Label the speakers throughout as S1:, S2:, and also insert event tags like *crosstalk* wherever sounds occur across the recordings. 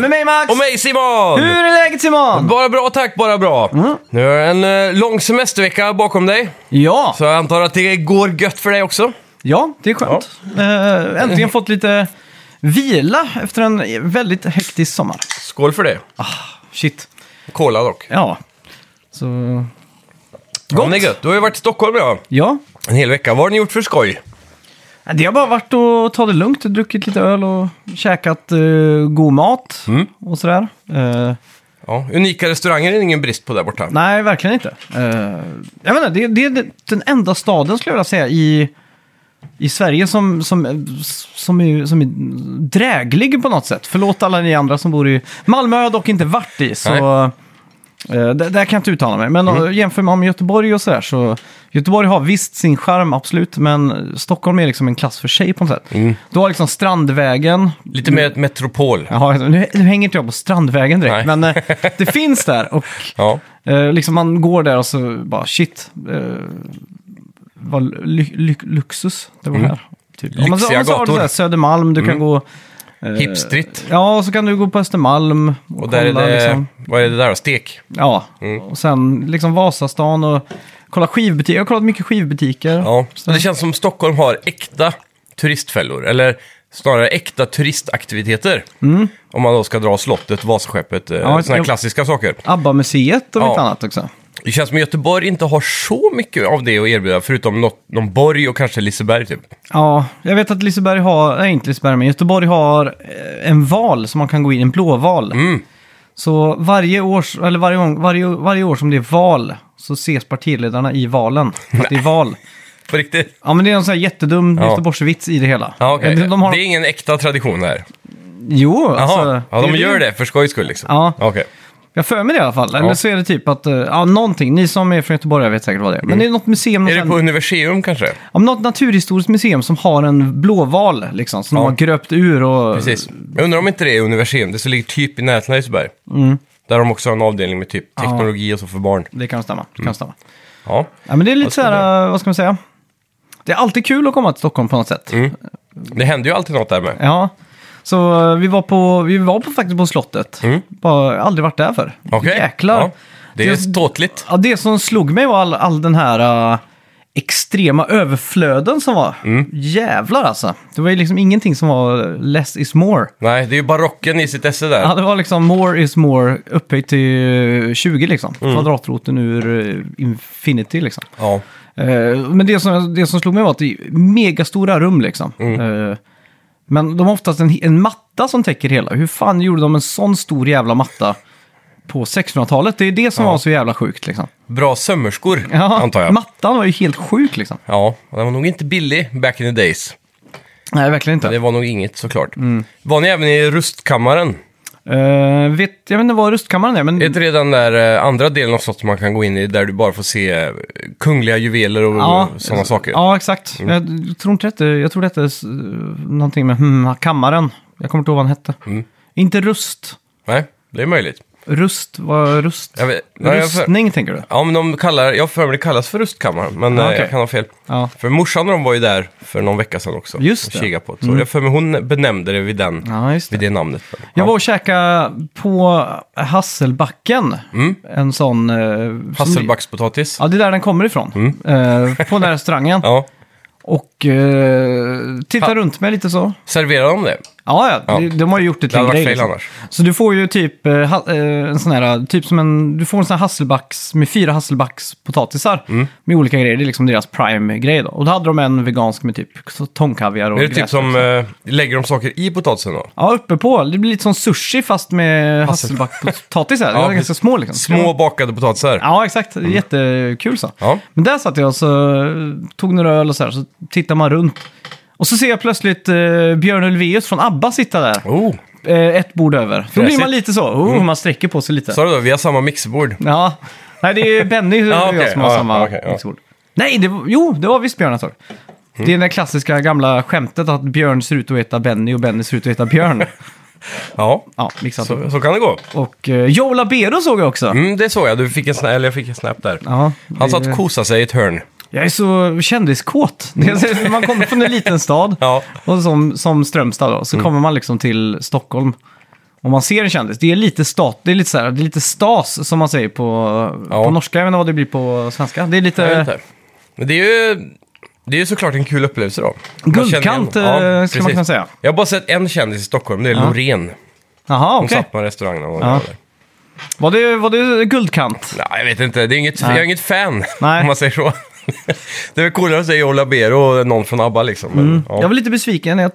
S1: Med mig Max!
S2: Och mig Simon!
S1: Hur Mm. är läget Simon?
S2: Bara bra tack, bara bra. Nu är en eh, lång semestervecka bakom dig.
S1: Ja,
S2: Så jag antar att det går gött för dig också.
S1: ja det är skönt. Eh, äntligen fått lite vila efter en väldigt hektisk sommar. Ah,
S2: Skål för det.
S1: Shit.
S2: Cola dock.
S1: Ja. Så...
S2: Ja, men det är gött. Du har ju varit i Stockholm ja.
S1: Ja. Eh,
S2: en hel vecka. Vad har ni gjort för skoj?
S1: Det har bara varit att ta det lugnt, druckit lite öl och käkat eh, god mat och sådär. Eh,
S2: Ja, unika restauranger är det ingen brist på där borta.
S1: nej, verkligen inte. Eh, jag vet inte, det, det är det- den enda staden skulle jag vilja säga i, i Sverige som, som, som, är, som är dräglig på något sätt. Förlåt alla ni andra som bor i... Malmö har jag dock inte varit i, så... eh, där, där kan jag inte uttala mig, men mm. jämför man med Göteborg och sådär så... Göteborg har visst sin charm, absolut, men Stockholm är liksom en klass för sig på något sätt. Du har liksom Strandvägen,
S2: Mm. Lite mer ett metropol.
S1: Jaha, nu, nu hänger inte jag på Strandvägen direkt,
S2: Nej.
S1: men
S2: *laughs*
S1: eh, det finns där. Och
S2: Ja.
S1: eh, liksom man går där och så bara shit, eh, vad ly, ly, luxus det var här. Typ. Om man, så- om man så har du
S2: Mm. gator. Mm.
S1: så här Södermalm, du kan gå... Eh,
S2: Hipstrigt.
S1: Ja, och så kan du gå på Östermalm och,
S2: Och där är
S1: kolla
S2: det... Mm.
S1: liksom.
S2: Vad är det där då? Stek?
S1: Ja, och sen liksom Vasastan och kolla skivbutiker. Jag har kollat mycket skivbutiker.
S2: Ja. Så det känns som Stockholm har äkta turistfällor. Eller snarare äkta turistaktiviteter. Om man då ska dra slottet, Vasaskeppet, ja, sådana
S1: jag-
S2: här klassiska saker.
S1: ABBA-museet och
S2: Ja.
S1: lite annat också.
S2: Det känns som att Göteborg inte har så mycket av det att erbjuda, förutom något, någon borg och kanske Liseberg typ.
S1: Ja, jag vet att Liseberg har, nej inte Liseberg, men Göteborg har eh, en val som man kan gå in, en blåval.
S2: Mm.
S1: Så varje år, eller varje, gång, varje, varje år som det är val så ses partiledarna i valen. För att det är
S2: *laughs*
S1: val.
S2: På riktigt.
S1: Ja, men det är en sån här jättedum
S2: Ja.
S1: Göteborgsvits i det hela. Eh,
S2: Ja, okej.
S1: de, de har,
S2: Det är ingen äkta tradition här.
S1: Jo,
S2: Jaha,
S1: alltså.
S2: ja, de
S1: är-
S2: gör det för skojs skull liksom.
S1: Ja.
S2: Okej.
S1: Jag för mig det i alla fall. Eller så är det typ att, eh, ja, någonting. Ni som är från Göteborg vet säkert vad det är. Men det är något museum.
S2: Mm. Är
S1: någon
S2: det på Universium kanske?
S1: Om något naturhistoriskt museum som har en blåval liksom, som de har gröpt ur och...
S2: Precis. Jag undrar om inte det är Universium, det som ligger typ i närheten av Liseberg. Där de också har en avdelning med typ teknologi och så för barn.
S1: Det kan stämma. Det
S2: Mm.
S1: kan stämma.
S2: Ja.
S1: Ja, men det är lite så här, vad ska man säga? Det är alltid kul att komma till Stockholm på något sätt.
S2: Mm. Det händer ju alltid något där med.
S1: Ja. Så eh, vi var, på, vi var på, faktiskt på slottet. Bara, aldrig varit där förr.
S2: Mm. Okej.
S1: Jäklar.
S2: Ja.
S1: Ja.
S2: Det är ståtligt.
S1: det som slog mig var all, all den här eh, extrema överflöden som var.
S2: Mm.
S1: Jävlar alltså. Det var ju liksom ingenting som var eh, less is more.
S2: Nej, det är ju barocken i sitt esse där.
S1: Ja, det var liksom more is more upphöjt till eh, 20 liksom.
S2: Mm.
S1: Kvadratroten ur eh, infinity liksom.
S2: Ja.
S1: Eh, Men det som, det som slog mig var att det är megastora rum liksom.
S2: Mm.
S1: Eh, Men de har oftast en, en matta som täcker hela. Hur fan gjorde de en sån stor jävla matta på 1600-talet? Det är det som var så jävla sjukt liksom.
S2: Bra sömmerskor, antar jag.
S1: Mattan var ju helt sjuk liksom.
S2: Ja, och den var nog inte billig back in the days.
S1: Nej, verkligen inte.
S2: Det var nog inget såklart.
S1: Mm.
S2: Var ni även i rustkammaren?
S1: Eh, vet, jag vet inte vad rustkammaren är, men...
S2: Är inte det den där eh, andra delen av slottet man kan gå in i där du bara får se eh, kungliga juveler och sådana saker?
S1: Ja, exakt.
S2: Mm.
S1: Jag tror inte det Jag tror det hette s- någonting med hmm, kammaren. Jag kommer inte ihåg vad den hette.
S2: Mm.
S1: Inte rust.
S2: Nej, det är möjligt.
S1: Rust, vad rust?
S2: Jag vet, nej, jag för,
S1: Rustning tänker du?
S2: ja, men de kallar, jag har för mig det kallas för rustkammaren, men
S1: Ja,
S2: eh,
S1: okej.
S2: jag kan ha fel.
S1: Ja.
S2: För morsan och de var ju där för någon vecka sedan också.
S1: Just
S2: och
S1: det. Mm.
S2: kikade på det. Så jag för mig hon benämnde det vid, den,
S1: Ja, just det.
S2: vid det namnet. Men,
S1: Jag
S2: ja.
S1: var och käkade på Hasselbacken.
S2: Mm.
S1: En sån... Eh, som-
S2: Hasselbackspotatis.
S1: Ja, det är där den kommer ifrån. Eh, på den här restaurangen.
S2: Mm. *laughs* Ja.
S1: Och eh, titta
S2: Ha-
S1: runt mig lite så.
S2: Serverade de det?
S1: Ja, ja.
S2: Ja.
S1: De, de har ju gjort det
S2: Det
S1: till
S2: hade
S1: en
S2: varit
S1: grej.
S2: fel
S1: liksom.
S2: annars.
S1: Så du får ju typ eh, ha- eh, en sån här, typ som en, du får en sån här Hasselbacks med fyra Hasselbackspotatisar
S2: Mm.
S1: med olika grejer. Det är liksom deras prime-grej då. Och då hade de en vegansk med typ tångkaviar och
S2: Är det typ
S1: gräs liksom.
S2: som,
S1: också.
S2: eh, lägger de saker i potatisen då?
S1: Ja, uppe på. Det blir lite som sushi fast med
S2: *laughs*
S1: Hasselbackspotatisar. De
S2: Ja,
S1: är ganska
S2: precis.
S1: små liksom.
S2: Små bakade potatisar?
S1: Ja, exakt. Det är Jättekul så.
S2: Ja.
S1: Men där satt jag och så eh, tog några öl och så här, så tittar man runt. Och så ser jag plötsligt eh, Björn Ulvaeus från ABBA sitta där.
S2: Oh,
S1: Eh, ett bord över. Då blir
S2: Fräsigt. Mm.
S1: man lite så, oh, man sträcker på sig lite.
S2: sa du då? Vi har samma mixerbord.
S1: Ja. Nej, det
S2: *laughs*
S1: är Benny och
S2: Ja, okej.
S1: jag som har
S2: Ja,
S1: samma
S2: okej, ja. Mm.
S1: mixord. Nej, det var, jo, det var visst Björn ett tag. Det är det klassiska gamla skämtet att Björn ser ut att heta Benny och Benny ser ut att heta
S2: *laughs*
S1: Björn.
S2: Ja,
S1: ja, mixat.
S2: så, så kan det gå.
S1: Och eh, Joe Labero såg jag också.
S2: Mm, det såg jag. Du fick en snap, eller jag fick en snap där.
S1: Ja,
S2: Han
S1: det-
S2: satt och kosade sig i ett hörn.
S1: Jag är så kändiskåt. Det är- Man kommer från en liten stad,
S2: *laughs* Ja. Mm.
S1: och som, som Strömstad då, så kommer man liksom till Stockholm. om man ser en kändis. Det är lite, stat, det är lite, så här, det är lite stas som man säger på,
S2: Ja.
S1: på norska. Jag vet inte vad det blir på svenska. Det är lite...
S2: Jag vet inte. Men det är ju... Det är ju såklart en kul upplevelse då. Man
S1: Guldkant,
S2: känner igen-
S1: eh, skulle man
S2: precis.
S1: kunna säga.
S2: Jag har bara sett en kändis i Stockholm, det är Loreen.
S1: Jaha,
S2: Hon
S1: okej.
S2: satt på en restaurang någon gång.
S1: Ja.
S2: där.
S1: Var, det, var det guldkant?
S2: Nej, jag vet inte. Det är inget, Jag är inget fan,
S1: Nej.
S2: om man säger så. *laughs* det är väl coolare att säga Joe Labero och någon från ABBA liksom. Men, ja.
S1: Jag var lite besviken. Jag,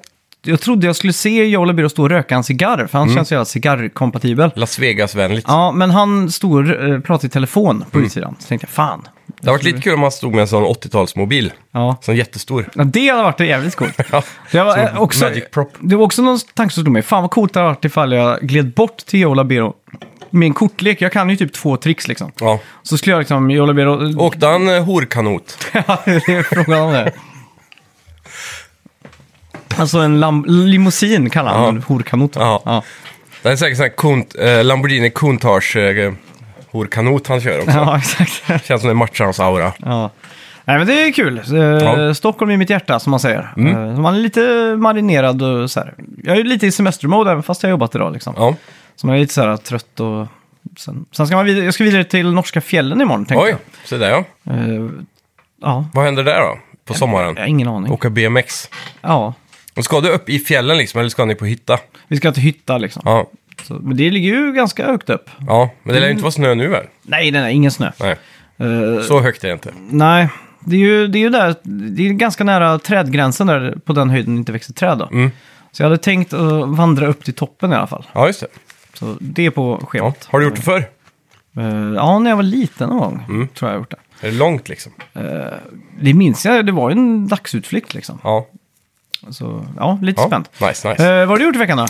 S1: jag trodde jag skulle se Joe Labero stå och röka en cigarr, för han
S2: Mm.
S1: känns så jävla cigarrkompatibel.
S2: Las Vegas-vänligt.
S1: Ja, men han stod och eh, pratade i telefon
S2: Mm.
S1: på utsidan. Så tänkte jag, fan.
S2: Det har varit lite kul om han stod med en sån 80-talsmobil.
S1: Ja.
S2: Sån jättestor.
S1: Ja, det hade varit jävligt coolt.
S2: *laughs* Ja.
S1: Det var,
S2: Som
S1: eh, också,
S2: Magic Prop.
S1: det var också någon tanke som slog mig. Fan vad coolt det hade varit ifall jag gled bort till Joe Labero med en kortlek. Jag kan ju typ två tricks liksom.
S2: Ja.
S1: Så skulle jag liksom, Joe Labero...
S2: Åkte han eh, horkanot?
S1: *laughs* Ja, det är frågan om det. Alltså en lam- limousin kallar han
S2: Ja.
S1: en horkanot. va?
S2: Ja.
S1: Ja. *laughs*
S2: Det är säkert sån här Kunt, eh, Lamborghini Countach eh, horkanot han kör också.
S1: ja, exakt.
S2: Känns som det matchar hans aura.
S1: Ja. Nej, men det är kul. Eh,
S2: Ja. Mm.
S1: Stockholm i mitt hjärta, som man säger. Eh, man är lite marinerad och så här. Jag är ju lite i semestermode, även fast jag har jobbat idag. Liksom.
S2: Ja.
S1: Så man är lite så här trött och... Sen, sen ska man vidare, jag ska vidare till norska fjällen imorgon, tänkte
S2: Oj, så där ja.
S1: jag. Eh, ja,
S2: Vad händer där då? På sommaren?
S1: jag har ingen aning.
S2: Åka BMX?
S1: Ja,
S2: Och ska du upp i fjällen liksom, eller ska ni på hytta?
S1: vi ska till hytta liksom.
S2: Ja.
S1: Så, men det ligger ju ganska högt upp.
S2: Ja, men det lär ju inte vara snö nu väl?
S1: Nej, nej, nej, ingen snö.
S2: Nej,
S1: Eh,
S2: så högt är det inte.
S1: Nej, det är ju, det är ju där, det är ganska nära trädgränsen där på den höjden det inte växer träd. Då.
S2: Mm.
S1: Så jag hade tänkt att vandra upp till toppen i alla fall.
S2: Ja, just det.
S1: Så det är på
S2: Ja.
S1: schemat.
S2: Har du gjort det förr?
S1: Eh, ja, när jag var liten någon gång
S2: Mm.
S1: tror jag jag gjort det. Eh,
S2: Är det långt liksom?
S1: Det minns jag, det var ju en dagsutflykt liksom.
S2: Ja.
S1: Så ja, lite
S2: ja.
S1: spänt.
S2: Nice, nice.
S1: Eh, vad har du gjort i veckan då?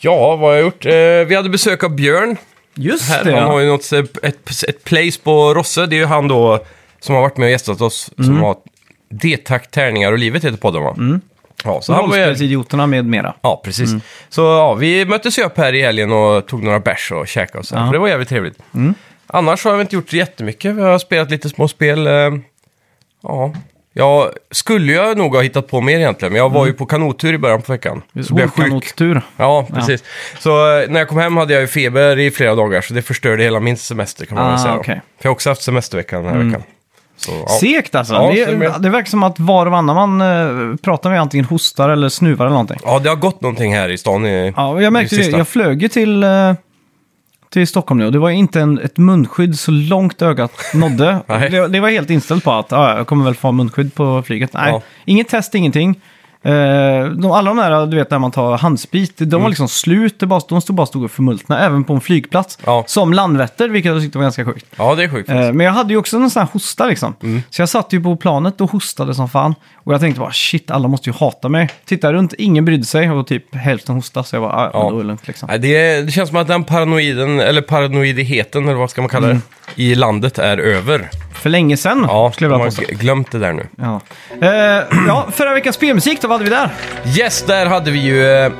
S2: Ja, vad har jag gjort? Eh, vi hade besök av Björn.
S1: Just
S2: Här,
S1: det,
S2: han
S1: ja.
S2: har ju något, eh, ett, ett place på Rosse. Det är ju han då som har varit med och gästat oss.
S1: Mm.
S2: Som har D-takt, tärningar och livet heter podden va? Ja, så han var,
S1: Rollspelsidioterna med mera.
S2: Ja, precis.
S1: Mm.
S2: Så ja, vi möttes ju upp här i helgen och tog några bärs och käkade och så. här, För det var jävligt trevligt.
S1: Mm.
S2: Annars har jag inte gjort jättemycket. Jag har spelat lite små spel. eh, Ja, jag skulle jag nog ha hittat på mer egentligen. Men jag var ju
S1: Mm.
S2: på kanottur i början på veckan. Så blev jag sjuk.
S1: Hårdkanottur.
S2: Ja, precis. Så eh, när jag kom hem hade jag ju feber i flera dagar. Så det förstörde hela min semester kan man
S1: Ah,
S2: väl säga. då.
S1: okej. Mm.
S2: För jag har också haft semesterveckan den här veckan. Så, ja.
S1: Segt alltså.
S2: Ja,
S1: det,
S2: så
S1: är,
S2: med-
S1: det verkar som att var och varannan man eh, pratar med antingen hostar eller snuvar eller någonting.
S2: ja, det har gått någonting här i stan. I,
S1: Ja, och jag märkte
S2: i
S1: det.
S2: sista.
S1: Jag flög ju till, eh, till Stockholm nu och det var ju inte en, ett munskydd så långt ögat nådde.
S2: *laughs* Nej.
S1: det, det var helt inställt på att ja, jag kommer väl få ha munskydd på flyget. Nej,
S2: Ja.
S1: inget test, ingenting. Eh, de, alla de där, du vet, där man tar handsprit, de
S2: Mm.
S1: var liksom slut. Det bara, de stod bara stod och förmultna, även på en flygplats.
S2: Ja.
S1: Som Landvetter, vilket jag tyckte var ganska sjukt.
S2: Ja, det är sjukt.
S1: Eh, Men jag hade ju också en sån här hosta liksom.
S2: Mm.
S1: Så jag satt ju på planet och hostade som fan. Och jag tänkte bara shit, alla måste ju hata mig. Tittade runt, ingen brydde sig och typ hälften hostade. Så jag bara, ah, ja.
S2: Ja.
S1: men då är det lugnt liksom.
S2: Nej, det, det känns som att den paranoiden, eller paranoidheten, eller vad ska man
S1: Mm.
S2: kalla det, i landet är över.
S1: För länge sedan
S2: Ja,
S1: skulle jag
S2: de har
S1: vilja påstå.
S2: g- glömt det där nu.
S1: Ja. Eh, ja, förra veckans spelmusik då, vad hade vi där?
S2: Yes, där hade vi ju... eh,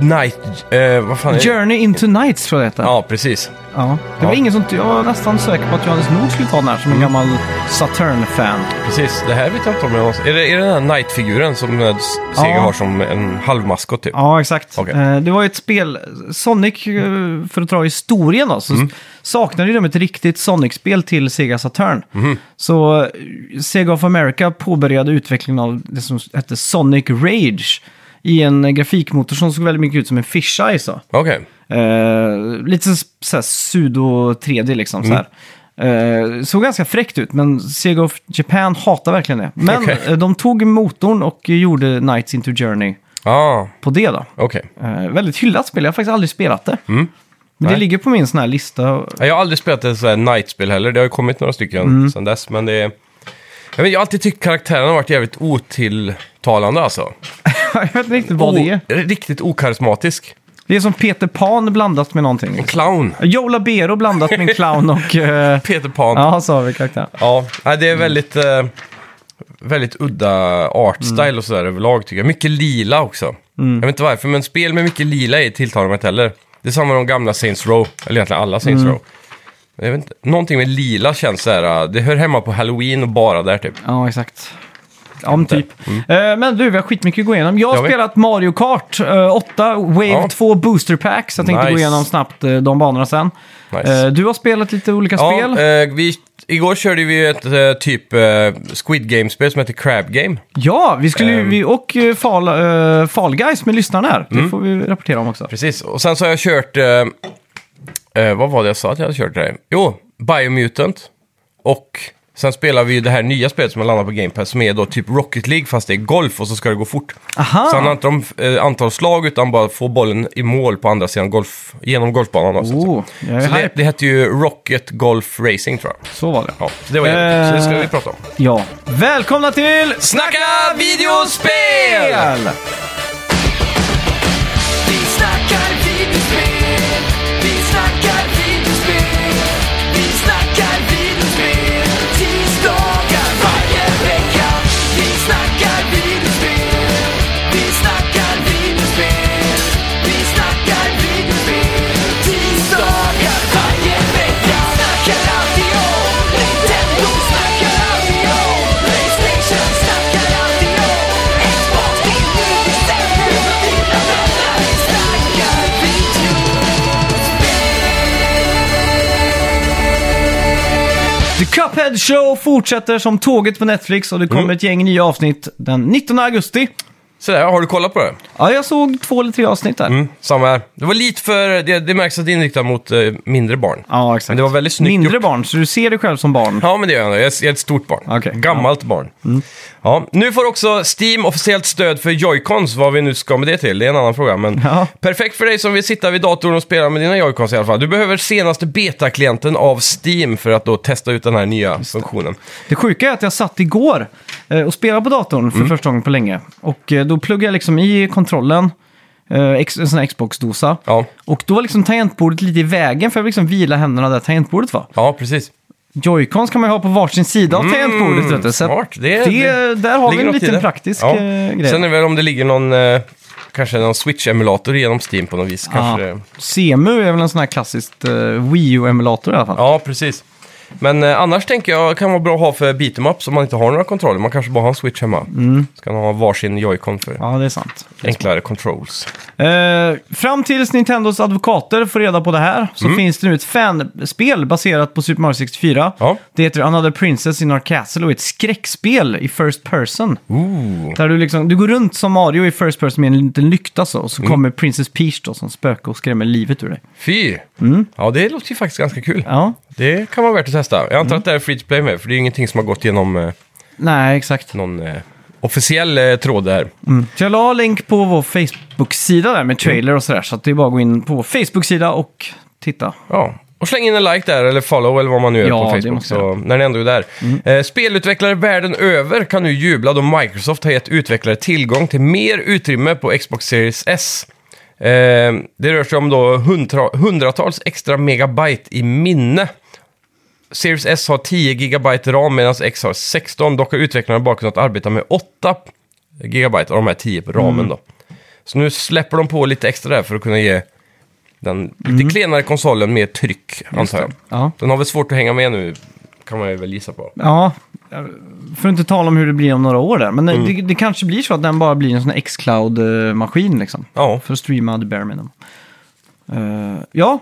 S2: night... eh, vad fan är det?
S1: Journey into Nights tror jag det heter.
S2: Ja, precis.
S1: Ja. Det var
S2: Ja. Mm.
S1: ingen som... Jag var nästan säker på att Johannes Nord skulle ta den här som en gammal Saturn-fan.
S2: Precis, det här vet jag inte om jag var... Är det, är det den här Night-figuren som eh, S- Seger
S1: Ja.
S2: har som en halvmaskot typ?
S1: Ja, exakt.
S2: Okej.
S1: Eh, Det var ju ett spel, Sonic, eh, för att dra historien då, så
S2: Mm.
S1: saknade ju de ett riktigt Sonic-spel till Sega Saturn.
S2: Mhm.
S1: Så eh, Sega of America påbörjade utvecklingen av det som hette Sonic Rage i en eh, grafikmotor som såg väldigt mycket ut som en fisheye. Så.
S2: Okej.
S1: Eh, lite såhär pseudo-3D liksom.
S2: Mm.
S1: Så här. Eh, såg ganska fräckt ut, men Sega of Japan hatar verkligen det. Men
S2: Okej.
S1: eh, de tog motorn och gjorde Nights into Journey
S2: Ja,
S1: på det då.
S2: okej.
S1: Eh, väldigt hyllat spel, jag har faktiskt aldrig spelat det. Men det
S2: Mm. Nej.
S1: ligger på min sån här lista. *laughs*
S2: Jag har aldrig spelat ett sådär Night-spel heller. Det har ju kommit några stycken
S1: Mm.
S2: sedan dess, men det är... Jag, vet, jag har alltid tyckt karaktären har varit jävligt otilltalande alltså.
S1: jag vet inte riktigt vad det är.
S2: O- Riktigt okarismatisk.
S1: Det är som Peter Pan blandat med någonting.
S2: En clown.
S1: Joe Labero blandat med en clown och... eh, *laughs*
S2: Peter Pan. Ja,
S1: ja, sa vi karaktären.
S2: Nej, det är väldigt, eh, väldigt udda artstyle och sådär överlag tycker jag. Mycket lila också. Jag vet inte varför, men spel med mycket lila i tilltalar mig inte heller. Det är samma med de gamla Saints Row, eller egentligen alla Saints Row. Jag vet inte, någonting med lila känns så här, eh, det hör hemma på Halloween och bara där typ.
S1: Ja, exakt. Ja, men typ.
S2: Mm.
S1: Eh, men du, vi har skitmycket att gå igenom. Jag
S2: Det har
S1: har
S2: vi.
S1: spelat Mario Kart eh, 8, Wave
S2: Ja.
S1: 2 Booster Pack, så jag tänkte gå
S2: Nice.
S1: igenom snabbt eh, de banorna sen.
S2: Nice.
S1: Eh, du har spelat lite olika spel.
S2: Ja, eh, vi, igår körde vi ju ett eh, typ eh, Squid Game-spel som heter Crab Game.
S1: ja, vi skulle ju,
S2: ehm. Mm.
S1: vi, och eh, Fall, eh, Fall Guys med lyssnarna här. Det får vi rapportera om också.
S2: Precis, och sen så har jag kört... Eh, eh, vad var det jag sa att jag hade kört där? Jo, Biomutant. Och sen spelar vi ju det här nya spelet som har landat på Game Pass som är då typ Rocket League fast det är golf och så ska det gå fort.
S1: Aha!
S2: Så han har inte om, eh, antal slag utan bara få bollen i mål på andra sidan golf, genom golfbanan. Då, så att
S1: Oh, jag är
S2: säga. så det,
S1: hype.
S2: det hette ju Rocket Golf Racing tror jag.
S1: Så var det.
S2: Ja, så det var jävligt. Så det ska
S1: Eh.
S2: vi prata om.
S1: Ja. Välkomna till
S2: Snacka videospel!
S1: Spel!
S3: Vi snackar videospel, vi snackar videospel, vi snackar videospel, tisdagar varje vecka. Vi snackar videospel, vi snackar videospel, vi snackar videospel, tisdagar varje vecka. Snackar alltid om Nintendo, snackar alltid om Playstation, snackar alltid om Xbox, det är nu vi sänder för dina vänner. Vi snackar videospel.
S1: The Cuphead Show fortsätter som tåget på Netflix och det kommer
S2: Mm.
S1: ett gäng nya avsnitt den 19 augusti.
S2: Sådär, har du kollat på det?
S1: Ja, jag såg två eller tre avsnitt där.
S2: Mm, samma här. Det var lite för... Det, det märks att det är inriktat mot eh, mindre barn.
S1: Ja, exakt.
S2: Men det var väldigt snyggt
S1: Mindre
S2: gjort.
S1: barn, så du ser dig själv som barn.
S2: Ja, men det gör jag. nog. Jag är jag är ett stort barn.
S1: Okej. Mm.
S2: Gammalt barn. Ja. Nu får också Steam officiellt stöd för Joy-Cons, vad vi nu ska med det till. Det är en annan fråga. Men
S1: Ja.
S2: Perfekt för dig som vill sitta vid datorn och spela med dina Joy-Cons i alla fall. Du behöver senaste beta-klienten av Steam för att då testa ut den här nya funktionen.
S1: Det sjuka är att jag satt igår eh, och spelade på datorn
S2: Mm.
S1: för första gången på länge. Och eh, då pluggade jag liksom i kontrollen, eh, ex- en sån här Xbox-dosa.
S2: Ja,
S1: Och då var liksom tangentbordet lite i vägen för jag fick liksom vila händerna där tangentbordet var.
S2: ja precis.
S1: Joy-Cons kan man ju ha på varsin sida av tangentbordet. Vet du. Så att
S2: Mm, smart. Det- det
S1: där har vi en
S2: ligger något i
S1: liten
S2: det.
S1: praktisk
S2: Ja.
S1: eh, grej.
S2: Sen är det väl om det ligger någon... Eh, Kanske någon Switch-emulator genom Steam på något vis. Kanske
S1: Ja.
S2: det...
S1: Semu är väl en sån här klassiskt eh, Wii U-emulator i alla fall.
S2: Ja, precis. Men eh, annars tänker jag kan vara bra att ha för beat'em ups om man inte har några kontroller. Man kanske bara har en switch hemma. Så kan man ha varsin joy-con för
S1: Ja, det är sant.
S2: enklare controls.
S1: Eh, fram tills Nintendos advokater får reda på det här så
S2: Mm.
S1: finns det nu ett fanspel baserat på Super Mario 64.
S2: Ja.
S1: Det heter Another Princess in Our Castle och är ett skräckspel i First Person.
S2: Ooh.
S1: Där du, liksom, du går runt som Mario i First Person med en liten lykta så, och
S2: Mm.
S1: så kommer Princess Peach då, som spöke och skrämmer livet ur dig.
S2: Fy! Ja, det låter ju faktiskt ganska kul.
S1: Ja,
S2: Det kan vara värt att testa. Jag antar att det här är free to play med, för det är ju ingenting som har gått genom eh,
S1: nej exakt.
S2: någon eh, officiell eh, tråd där.
S1: Så jag la länk på vår Facebook-sida där med trailer och sådär. Så att det är bara att gå in på vår Facebook-sida och titta.
S2: Ja. Och släng in en like där, eller follow, eller vad man nu gör
S1: Ja,
S2: på
S1: det
S2: Facebook,
S1: måste Mm.
S2: så, när ni ändå är där. Eh, spelutvecklare världen över kan nu jubla då Microsoft har gett utvecklare tillgång till mer utrymme på Xbox Series S. Eh, det rör sig om då hundra, hundratals extra megabyte i minne. Series S har 10 gigabyte ram medan X har 16. Dock har utvecklarna bara kunnat arbeta med 8 gigabyte av de här 10 på ramen
S1: Mm.
S2: då. Så nu släpper de på lite extra där för att kunna ge den lite klenare konsolen mer tryck, antar jag.
S1: Mm. Ja.
S2: Den har väl svårt att hänga med nu, kan man ju väl gissa på.
S1: Ja, för att inte tala om hur det blir om några år där. Men det, det kanske blir så att den bara blir en sån här X-Cloud-maskin liksom.
S2: Ja,
S1: För att streama the bare minimum. Eh, ja,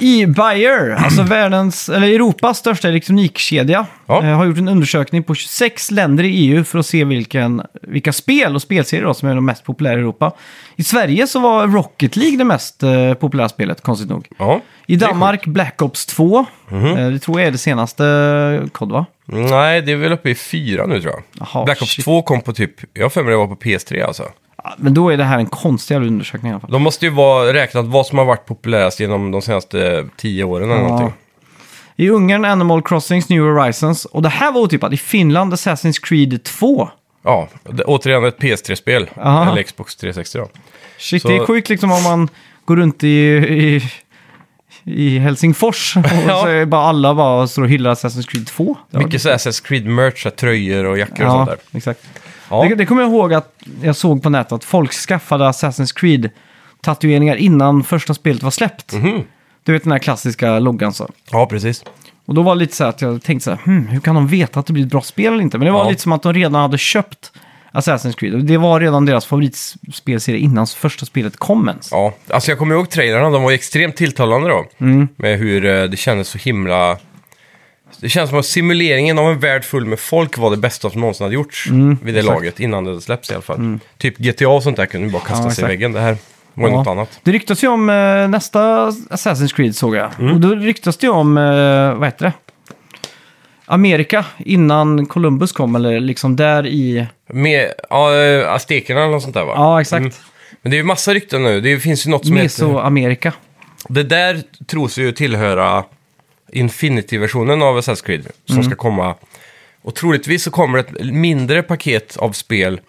S1: E-Buyer, alltså världens, eller Europas största elektronikkedja,
S2: Ja.
S1: eh, har gjort en undersökning på 26 länder i EU för att se vilken, vilka spel och spelserier då, som är de mest populära i Europa. I Sverige så var Rocket League det mest eh, populära spelet, konstigt nog.
S2: ja.
S1: I Danmark Black Ops 2,
S2: Mhm.
S1: eh, det tror jag är det senaste eh, kod va?
S2: Nej, det är väl uppe i fyra nu tror jag.
S1: Jaha,
S2: Black Ops
S1: shit.
S2: 2 kom på typ, jag har för mig det var på PS3 alltså.
S1: Ja, Men då är det här en konstig jävla undersökning i alla fall.
S2: De måste ju vara räknat vad som har varit populärast genom de senaste tio åren eller
S1: Ja.
S2: någonting.
S1: I Ungern Animal Crossings New Horizons. Och det här var otippat. I Finland Assassin's Creed 2.
S2: Ja, det, återigen ett PS3-spel.
S1: Aha.
S2: Eller Xbox 360 då.
S1: Shit,
S2: Så-
S1: det är sjukt liksom om man går runt i, i, i Helsingfors och
S2: *laughs* Ja.
S1: så är bara alla bara står och hyllar Assassin's Creed 2. Det var-
S2: Mycket så här Assassin's Creed-merch, så här tröjor och jackor och sånt
S1: Ja,
S2: där.
S1: exakt.
S2: Ja.
S1: Det, det kommer jag ihåg att jag såg på nätet att folk skaffade Assassin's Creed
S2: Mhm.
S1: tatueringar innan första spelet var släppt. Du vet den här klassiska loggan så.
S2: ja, precis.
S1: Och då var det lite så här att jag tänkte så här, hmm, hur kan de veta att det blir ett bra spel eller inte? Men det var
S2: Ja.
S1: lite som att de redan hade köpt Assassin's Creed. Och Det var redan deras favoritspelserie innan första spelet kom ens.
S2: Ja, alltså jag kommer ihåg trailrarna, de var ju extremt tilltalande då.
S1: Mm.
S2: Med hur eh, det kändes så himla... Det känns som att simuleringen av en värld full med folk var det bästa som någonsin hade gjorts vid det
S1: Mm, exakt. Mm.
S2: laget, innan det släpps i alla fall. Typ GTA och sånt där kunde ju bara kasta
S1: Ja,
S2: sig i
S1: exakt.
S2: väggen. Det här var ju
S1: Ja.
S2: något annat.
S1: Det ryktas ju om eh, nästa Assassin's Creed såg jag.
S2: Mm.
S1: Och då ryktas det ju om, eh, vad heter det? Amerika innan Columbus kom, eller liksom där i...
S2: Med ja, eh, aztekerna eller något sånt där va?
S1: Ja, exakt.
S2: Mm. Men det är ju massa rykten nu. Det finns ju något som heter...
S1: Mesoamerika.
S2: Det där tros ju tillhöra Infinity-versionen av Assassin's Creed som
S1: Mm.
S2: ska komma. Och troligtvis så kommer ett mindre paket av spel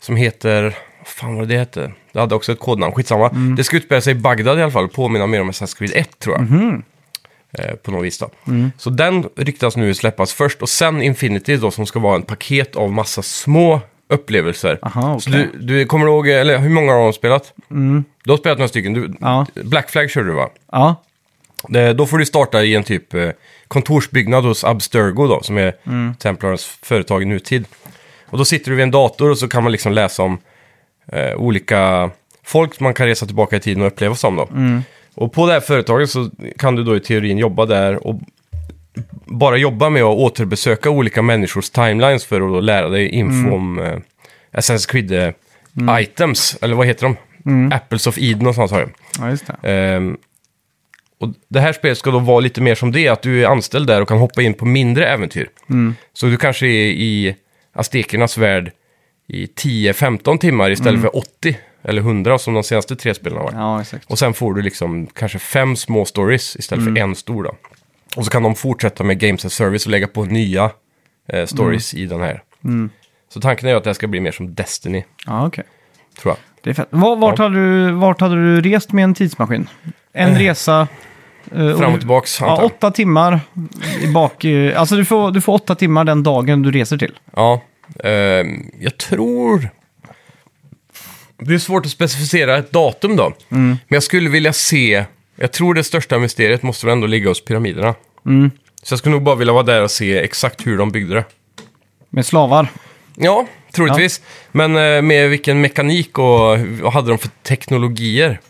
S2: som heter... Vad fan var det det hette? Det hade också ett kodnamn, skitsamma.
S1: Mm.
S2: Det ska utspela sig i Bagdad i alla fall, påminna mer om Assassin's Creed 1 tror jag.
S1: Mhm.
S2: Eh, på något vis då.
S1: Mm.
S2: Så den ryktas nu släppas först och sen Infinity då som ska vara en paket av massa små upplevelser.
S1: Aha,
S2: Så
S1: okej.
S2: du, du kommer ihåg, eller hur många har de spelat? Du har spelat några stycken, du,
S1: Ja.
S2: Black Flag körde du va?
S1: Ja,
S2: Det, Eh, då får du starta i en typ eh, kontorsbyggnad hos Abstergo då, som är Templarens företag i nutid. Och då sitter du vid en dator och så kan man liksom läsa om eh, olika folk man kan resa tillbaka i tiden och uppleva som då. Och på det här företaget så kan du då i teorin jobba där och bara jobba med att återbesöka olika människors timelines för att då lära dig info om eh, Assassin's Creed eh, items, eller vad heter de? Apples of Eden och sånt har det.
S1: ja just det.
S2: Ehm, och det här spelet ska då vara lite mer som det, att du är anställd där och kan hoppa in på mindre äventyr.
S1: Mm.
S2: Så du kanske är i aztekernas värld i 10-15 timmar istället för 80 eller 100 som de senaste tre spelen har varit.
S1: Mm. Ja, exakt.
S2: Och sen får du liksom kanske fem små stories istället
S1: Mm.
S2: för en stor då. Och så kan de fortsätta med Games as Service och lägga på nya eh, stories
S1: Mm.
S2: i den här. Så tanken är ju att det här ska bli mer som Destiny,
S1: Ja, okej.
S2: tror jag.
S1: Det är fett. Var, vart,
S2: Ja.
S1: hade du, vart hade du rest med en tidsmaskin? En resa... eh,
S2: Fram och tillbaks, antar
S1: Ja,
S2: jag.
S1: åtta timmar i bak... eh, Alltså du får, du får åtta timmar den dagen du reser till.
S2: Ja, ehm, jag tror... Det är svårt att specificera ett datum då. Men jag skulle vilja se... Jag tror det största mysteriet måste väl ändå ligga hos pyramiderna. Så jag skulle nog bara vilja vara där och se exakt hur de byggde det.
S1: Med slavar.
S2: Ja, troligtvis. Men eh, med vilken mekanik och hur- vad hade de för teknologier?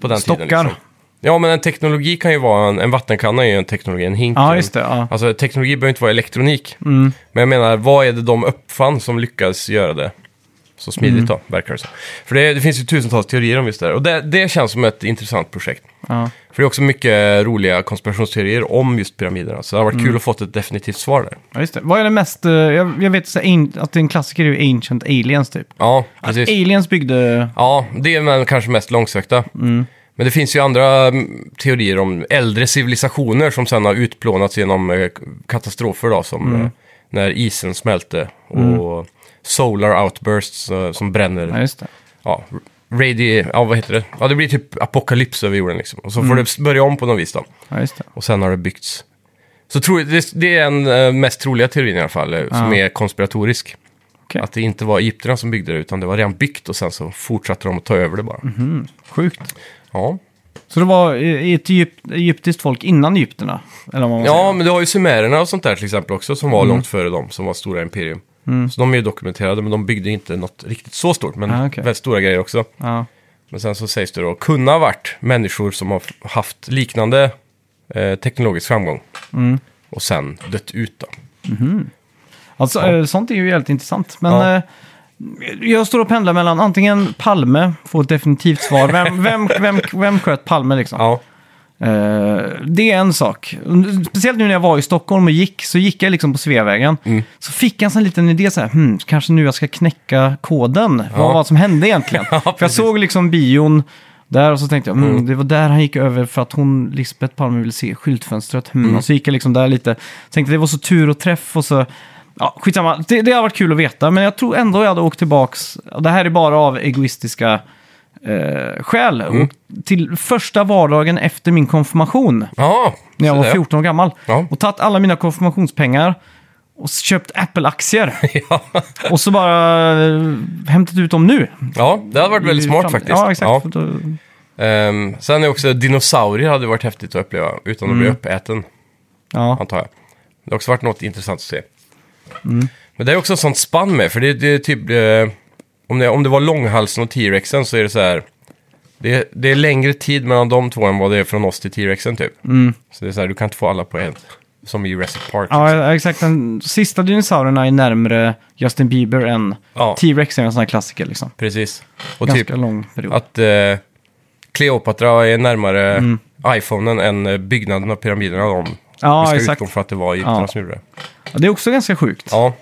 S2: På den
S1: Stockar.
S2: tiden liksom. Ja, men en teknologi kan ju vara... En, en vattenkanna är ju en teknologi, en hink.
S1: Ja,
S2: en-
S1: just det. Ja. Mm.
S2: Alltså teknologi behöver inte vara elektronik. Men jag menar, vad är det de uppfann som lyckades göra det så smidigt
S1: Mm.
S2: då, verkar det som. För det, det finns ju tusentals teorier om just det här. Och det, det känns som ett intressant projekt.
S1: Ja.
S2: För det är också mycket roliga konspirationsteorier om just pyramiderna. Så det har
S1: Mm.
S2: varit kul att fått ett definitivt svar där.
S1: Ja, just det. Vad är det mest... eh, Jag, jag vet så, här, an- att en klassiker är ju Ancient Aliens typ.
S2: Ja, precis.
S1: Aliens byggde...
S2: Ja, det är väl kanske mest långsökta. Men det finns ju andra mm, teorier om äldre civilisationer som sen har utplånats genom eh, k- katastrofer då, som eh, när isen smälte och solar outbursts eh, som bränner.
S1: Ja, just det.
S2: Ja, radi- ja, vad heter det? Ja, det blir typ apokalyps över jorden liksom. Och så får det s- börja om på något vis då.
S1: Ja, just det.
S2: Och sen har det byggts. Så tror, det, det är den eh, mest troliga teorin i alla fall, eh, som
S1: Ja.
S2: är konspiratorisk.
S1: Okej.
S2: Att det inte var egyptierna som byggde det, utan det var redan byggt och sen så fortsatte de att ta över det bara.
S1: Mhm. Sjukt.
S2: Ja.
S1: Så det var eh, ett egypt, egyptiskt folk innan egyptierna? Eller vad man
S2: ja,
S1: säger.
S2: men du har ju sumererna och sånt där till exempel också som var
S1: Mm.
S2: långt före dem, som var stora imperium. Så de är ju dokumenterade, men de byggde inte något riktigt så stort, men
S1: Ah, okej.
S2: väldigt stora grejer också.
S1: Ja.
S2: Men sen så sägs det då kunna ha varit människor som har f- haft liknande eh, teknologisk framgång
S1: Mm.
S2: och sen dött ut då.
S1: Alltså, eh, sånt är ju jävligt intressant. Men
S2: Ja.
S1: eh, jag står och pendlar mellan antingen Palme, får ett definitivt svar. Vem, vem, vem, vem sköt Palme liksom?
S2: Ja,
S1: Eh, det är en sak. Speciellt nu när jag var i Stockholm och gick, så gick jag liksom på Sveavägen.
S2: Mm.
S1: Så fick jag en sån liten idé så här, hmm, kanske nu jag ska knäcka koden. Vad
S2: Ja.
S1: var det som hände
S2: *laughs*
S1: egentligen? för jag
S2: precis. Mm.
S1: såg liksom bion där och så tänkte jag, hmm, det var där han gick över för att hon, Lisbeth Palme, ville se skyltfönstret. Hmm.
S2: Mm.
S1: Och så gick jag liksom där lite, tänkte det var så tur och träff och så Ja, skitsamma. Det, det har varit kul att veta, men jag tror ändå jag hade åkt tillbaks. Det här är bara av egoistiska eh, skäl.
S2: Mm.
S1: Och till första vardagen efter min konfirmation,
S2: ja
S1: när jag
S2: så
S1: var
S2: där.
S1: 14 år gammal.
S2: Ja.
S1: Och tagit alla mina konfirmationspengar och köpt Apple-aktier.
S2: *laughs* Ja.
S1: och så bara eh, hämtat ut dem nu.
S2: ja, det hade varit väldigt
S1: I
S2: smart
S1: fram-
S2: faktiskt.
S1: Ja, exakt.
S2: Ja.
S1: För då- Mm.
S2: Ehm, sen är också dinosaurier hade varit häftigt att uppleva utan att bli uppäten.
S1: Ja.
S2: antar jag. Det har också varit något intressant att se.
S1: Mm.
S2: Men det är också ett sånt spann med, för det, det är typ... Eh, om, det, om det var långhalsen och T-rexen så är det så här... Det, det är längre tid mellan de två än vad det är från oss till T-rexen typ. Så det är så här, du kan inte få alla på en. Som i Jurassic Park.
S1: Mm. ja, exakt. Den sista dinosaurierna är närmre Justin Bieber än
S2: Ja.
S1: T-Rex är en sån här klassiker liksom.
S2: Precis. Och
S1: Ganska
S2: typ
S1: lång period.
S2: att eh, Cleopatra är närmare
S1: Mm.
S2: iPhonen än eh, byggnaden av pyramiderna om
S1: Ja,
S2: vi ska
S1: exakt.
S2: utgå från att det var egyptierna
S1: Ja.
S2: som gjorde det.
S1: Ja, det är också ganska sjukt.
S2: Ja,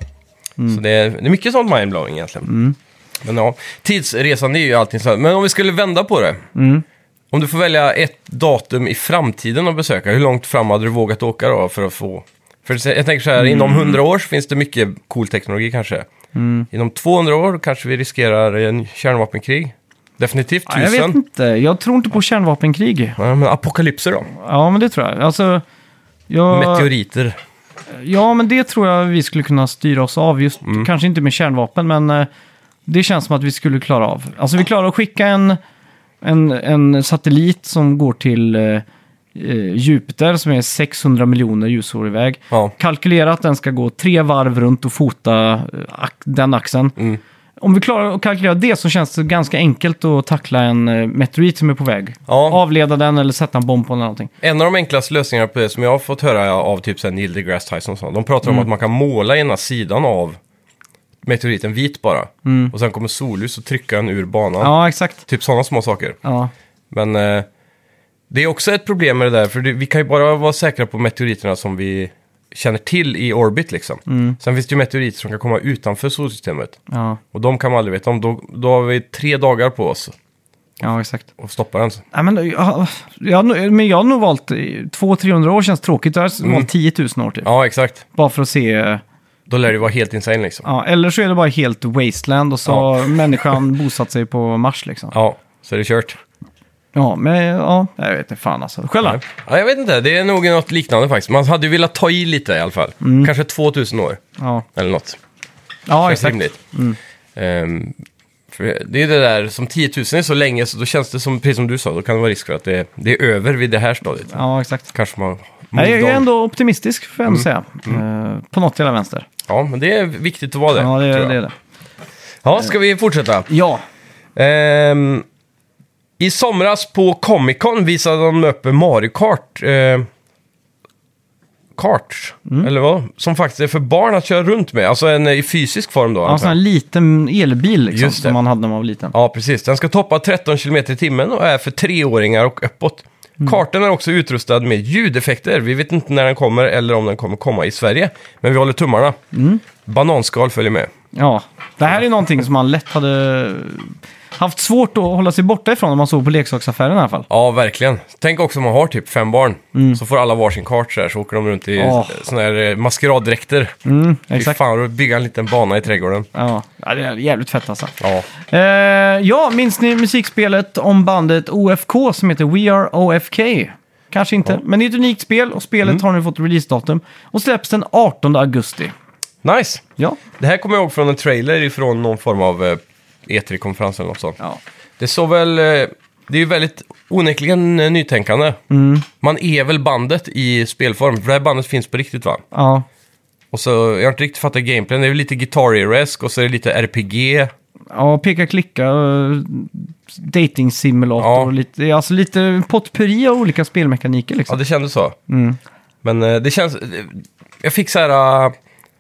S1: Mm.
S2: så det är, det är mycket sånt mindblowing egentligen. Men ja, tidsresan det är ju allting sånt. Men om vi skulle vända på det.
S1: Mm.
S2: Om du får välja ett datum i framtiden att besöka, hur långt fram hade du vågat åka då för att få... För jag tänker så här, inom
S1: Mm.
S2: 100 år så finns det mycket cool teknologi kanske. Inom 200 år kanske vi riskerar en kärnvapenkrig. Definitivt
S1: Ja, jag vet
S2: tusen.
S1: inte. Jag tror inte på kärnvapenkrig.
S2: Ja, men apokalypser då?
S1: Ja, men det tror jag. Alltså, jag...
S2: Meteoriter.
S1: Ja, men det tror jag vi skulle kunna styra oss av. Just,
S2: Mm.
S1: Kanske inte med kärnvapen, men eh, det känns som att vi skulle klara av. Alltså vi klarar att skicka en, en, en satellit som går till eh, eh, Jupiter som är 600 miljoner ljusår iväg.
S2: Ja.
S1: Kalkylera att den ska gå tre varv runt och fota eh, ax- den axeln.
S2: Mm.
S1: Om vi klarar att kalkylera det så känns det ganska enkelt att tackla en eh, meteorit som är på väg.
S2: Ja.
S1: Avleda den eller sätta en bomb på den eller någonting.
S2: En av de enklaste lösningarna på det som jag har fått höra av typ så här Neil deGrasse Tyson och sånt, de pratar om att man kan måla ena sidan av meteoriten vit bara. Och sen kommer solljus och trycka den ur banan.
S1: Ja, exakt.
S2: Typ sådana små saker.
S1: Ja.
S2: Men eh, det är också ett problem med det där, för det, vi kan ju bara vara säkra på meteoriterna som vi känner till i orbit liksom. Sen finns det ju meteoriter som kan komma utanför solsystemet.
S1: Ja.
S2: Och de kan man aldrig veta om. Då, då har vi tre dagar på oss
S1: ja, exakt.
S2: att stoppa den.
S1: Ja, men, jag, jag, har nog- men jag har nog valt eh, 200-300 år känns tråkigt. Jag
S2: Mm.
S1: har valt 10 000 år typ.
S2: Ja, exakt.
S1: Bara för att se. eh,
S2: Då lär det vara helt insane liksom.
S1: Ja, eller så är det bara helt wasteland och så
S2: Ja.
S1: har
S2: *laughs*
S1: människan bosatt sig på Mars liksom. Ja,
S2: Ja, så är det kört.
S1: men ja, jag vet inte fan alltså. Själv då?
S2: Ja, jag vet inte, det är nog något liknande faktiskt. Man hade ju velat ta i lite i alla fall.
S1: Mm.
S2: Kanske 2000 år
S1: Ja,
S2: eller något.
S1: ja
S2: Känns
S1: exakt.
S2: rimligt.
S1: Mm.
S2: Ehm, för det är det där, som 10 000 är så länge så då känns det som, precis som du sa, då kan det vara risk för att det, det är över vid det här stadiet.
S1: Ja, exakt.
S2: Kanske man...
S1: Nej, jag
S2: Moved
S1: är
S2: on.
S1: ändå optimistisk får jag
S2: Mm.
S1: ändå säga. Eh, på något jävla vänster.
S2: Ja, men det är viktigt att vara det.
S1: Ja, det,
S2: tror
S1: är-
S2: jag.
S1: det är det.
S2: Ja, ska vi fortsätta?
S1: Ja,
S2: Ehm, I somras på Comic Con visade de upp Mario Kart. Eh, kart,
S1: Mm.
S2: eller vad? Som faktiskt är för barn att köra runt med. Alltså en eh, i fysisk form då.
S1: ja, en
S2: antar
S1: sån
S2: jag.
S1: här liten elbil liksom,
S2: Just det.
S1: som man hade när man var liten.
S2: ja, precis. Den ska toppa 13 km i timmen och är för treåringar och uppåt.
S1: Mm.
S2: Kartan är också utrustad med ljudeffekter. Vi vet inte när den kommer eller om den kommer komma i Sverige. Men vi håller tummarna.
S1: Mm.
S2: Bananskal följer med.
S1: Ja, det här är någonting som man lätt hade haft svårt att hålla sig borta ifrån om man såg på leksaksaffären i alla fall.
S2: Ja, verkligen. Tänk också om man har typ fem barn.
S1: Mm.
S2: Så får alla varsin kart så här, så åker de runt i
S1: Åh.
S2: såna här eh, maskeraddräkter.
S1: Mm,
S2: Fy
S1: exakt.
S2: fan, då bygger han en liten bana i trädgården.
S1: Ja. ja, det är jävligt fett alltså.
S2: Ja,
S1: Eh, ja, minns ni musikspelet om bandet OFK som heter We Are OFK? Kanske inte, men det är ett unikt spel och spelet har nu fått releasedatum och släpps den 18 augusti.
S2: nice.
S1: Ja,
S2: Det här kommer jag ihåg från en trailer ifrån någon form av eh, E3-konferens eller något sånt.
S1: ja.
S2: Det såg väl... eh, Det är ju väldigt onekligen eh, nytänkande.
S1: Mm.
S2: Man är väl bandet i spelform, för det här bandet finns på riktigt va?
S1: ja.
S2: Och så, jag har inte riktigt fattat gameplayen, det är ju lite guitar-esk och så är det lite RPG.
S1: ja peka, klicka, eh, dating simulator
S2: Ja.
S1: och lite, alltså lite potpurri av olika spelmekaniker liksom.
S2: Ja, det kändes så.
S1: Mm.
S2: Men eh, det känns... eh, Jag fick så här... eh,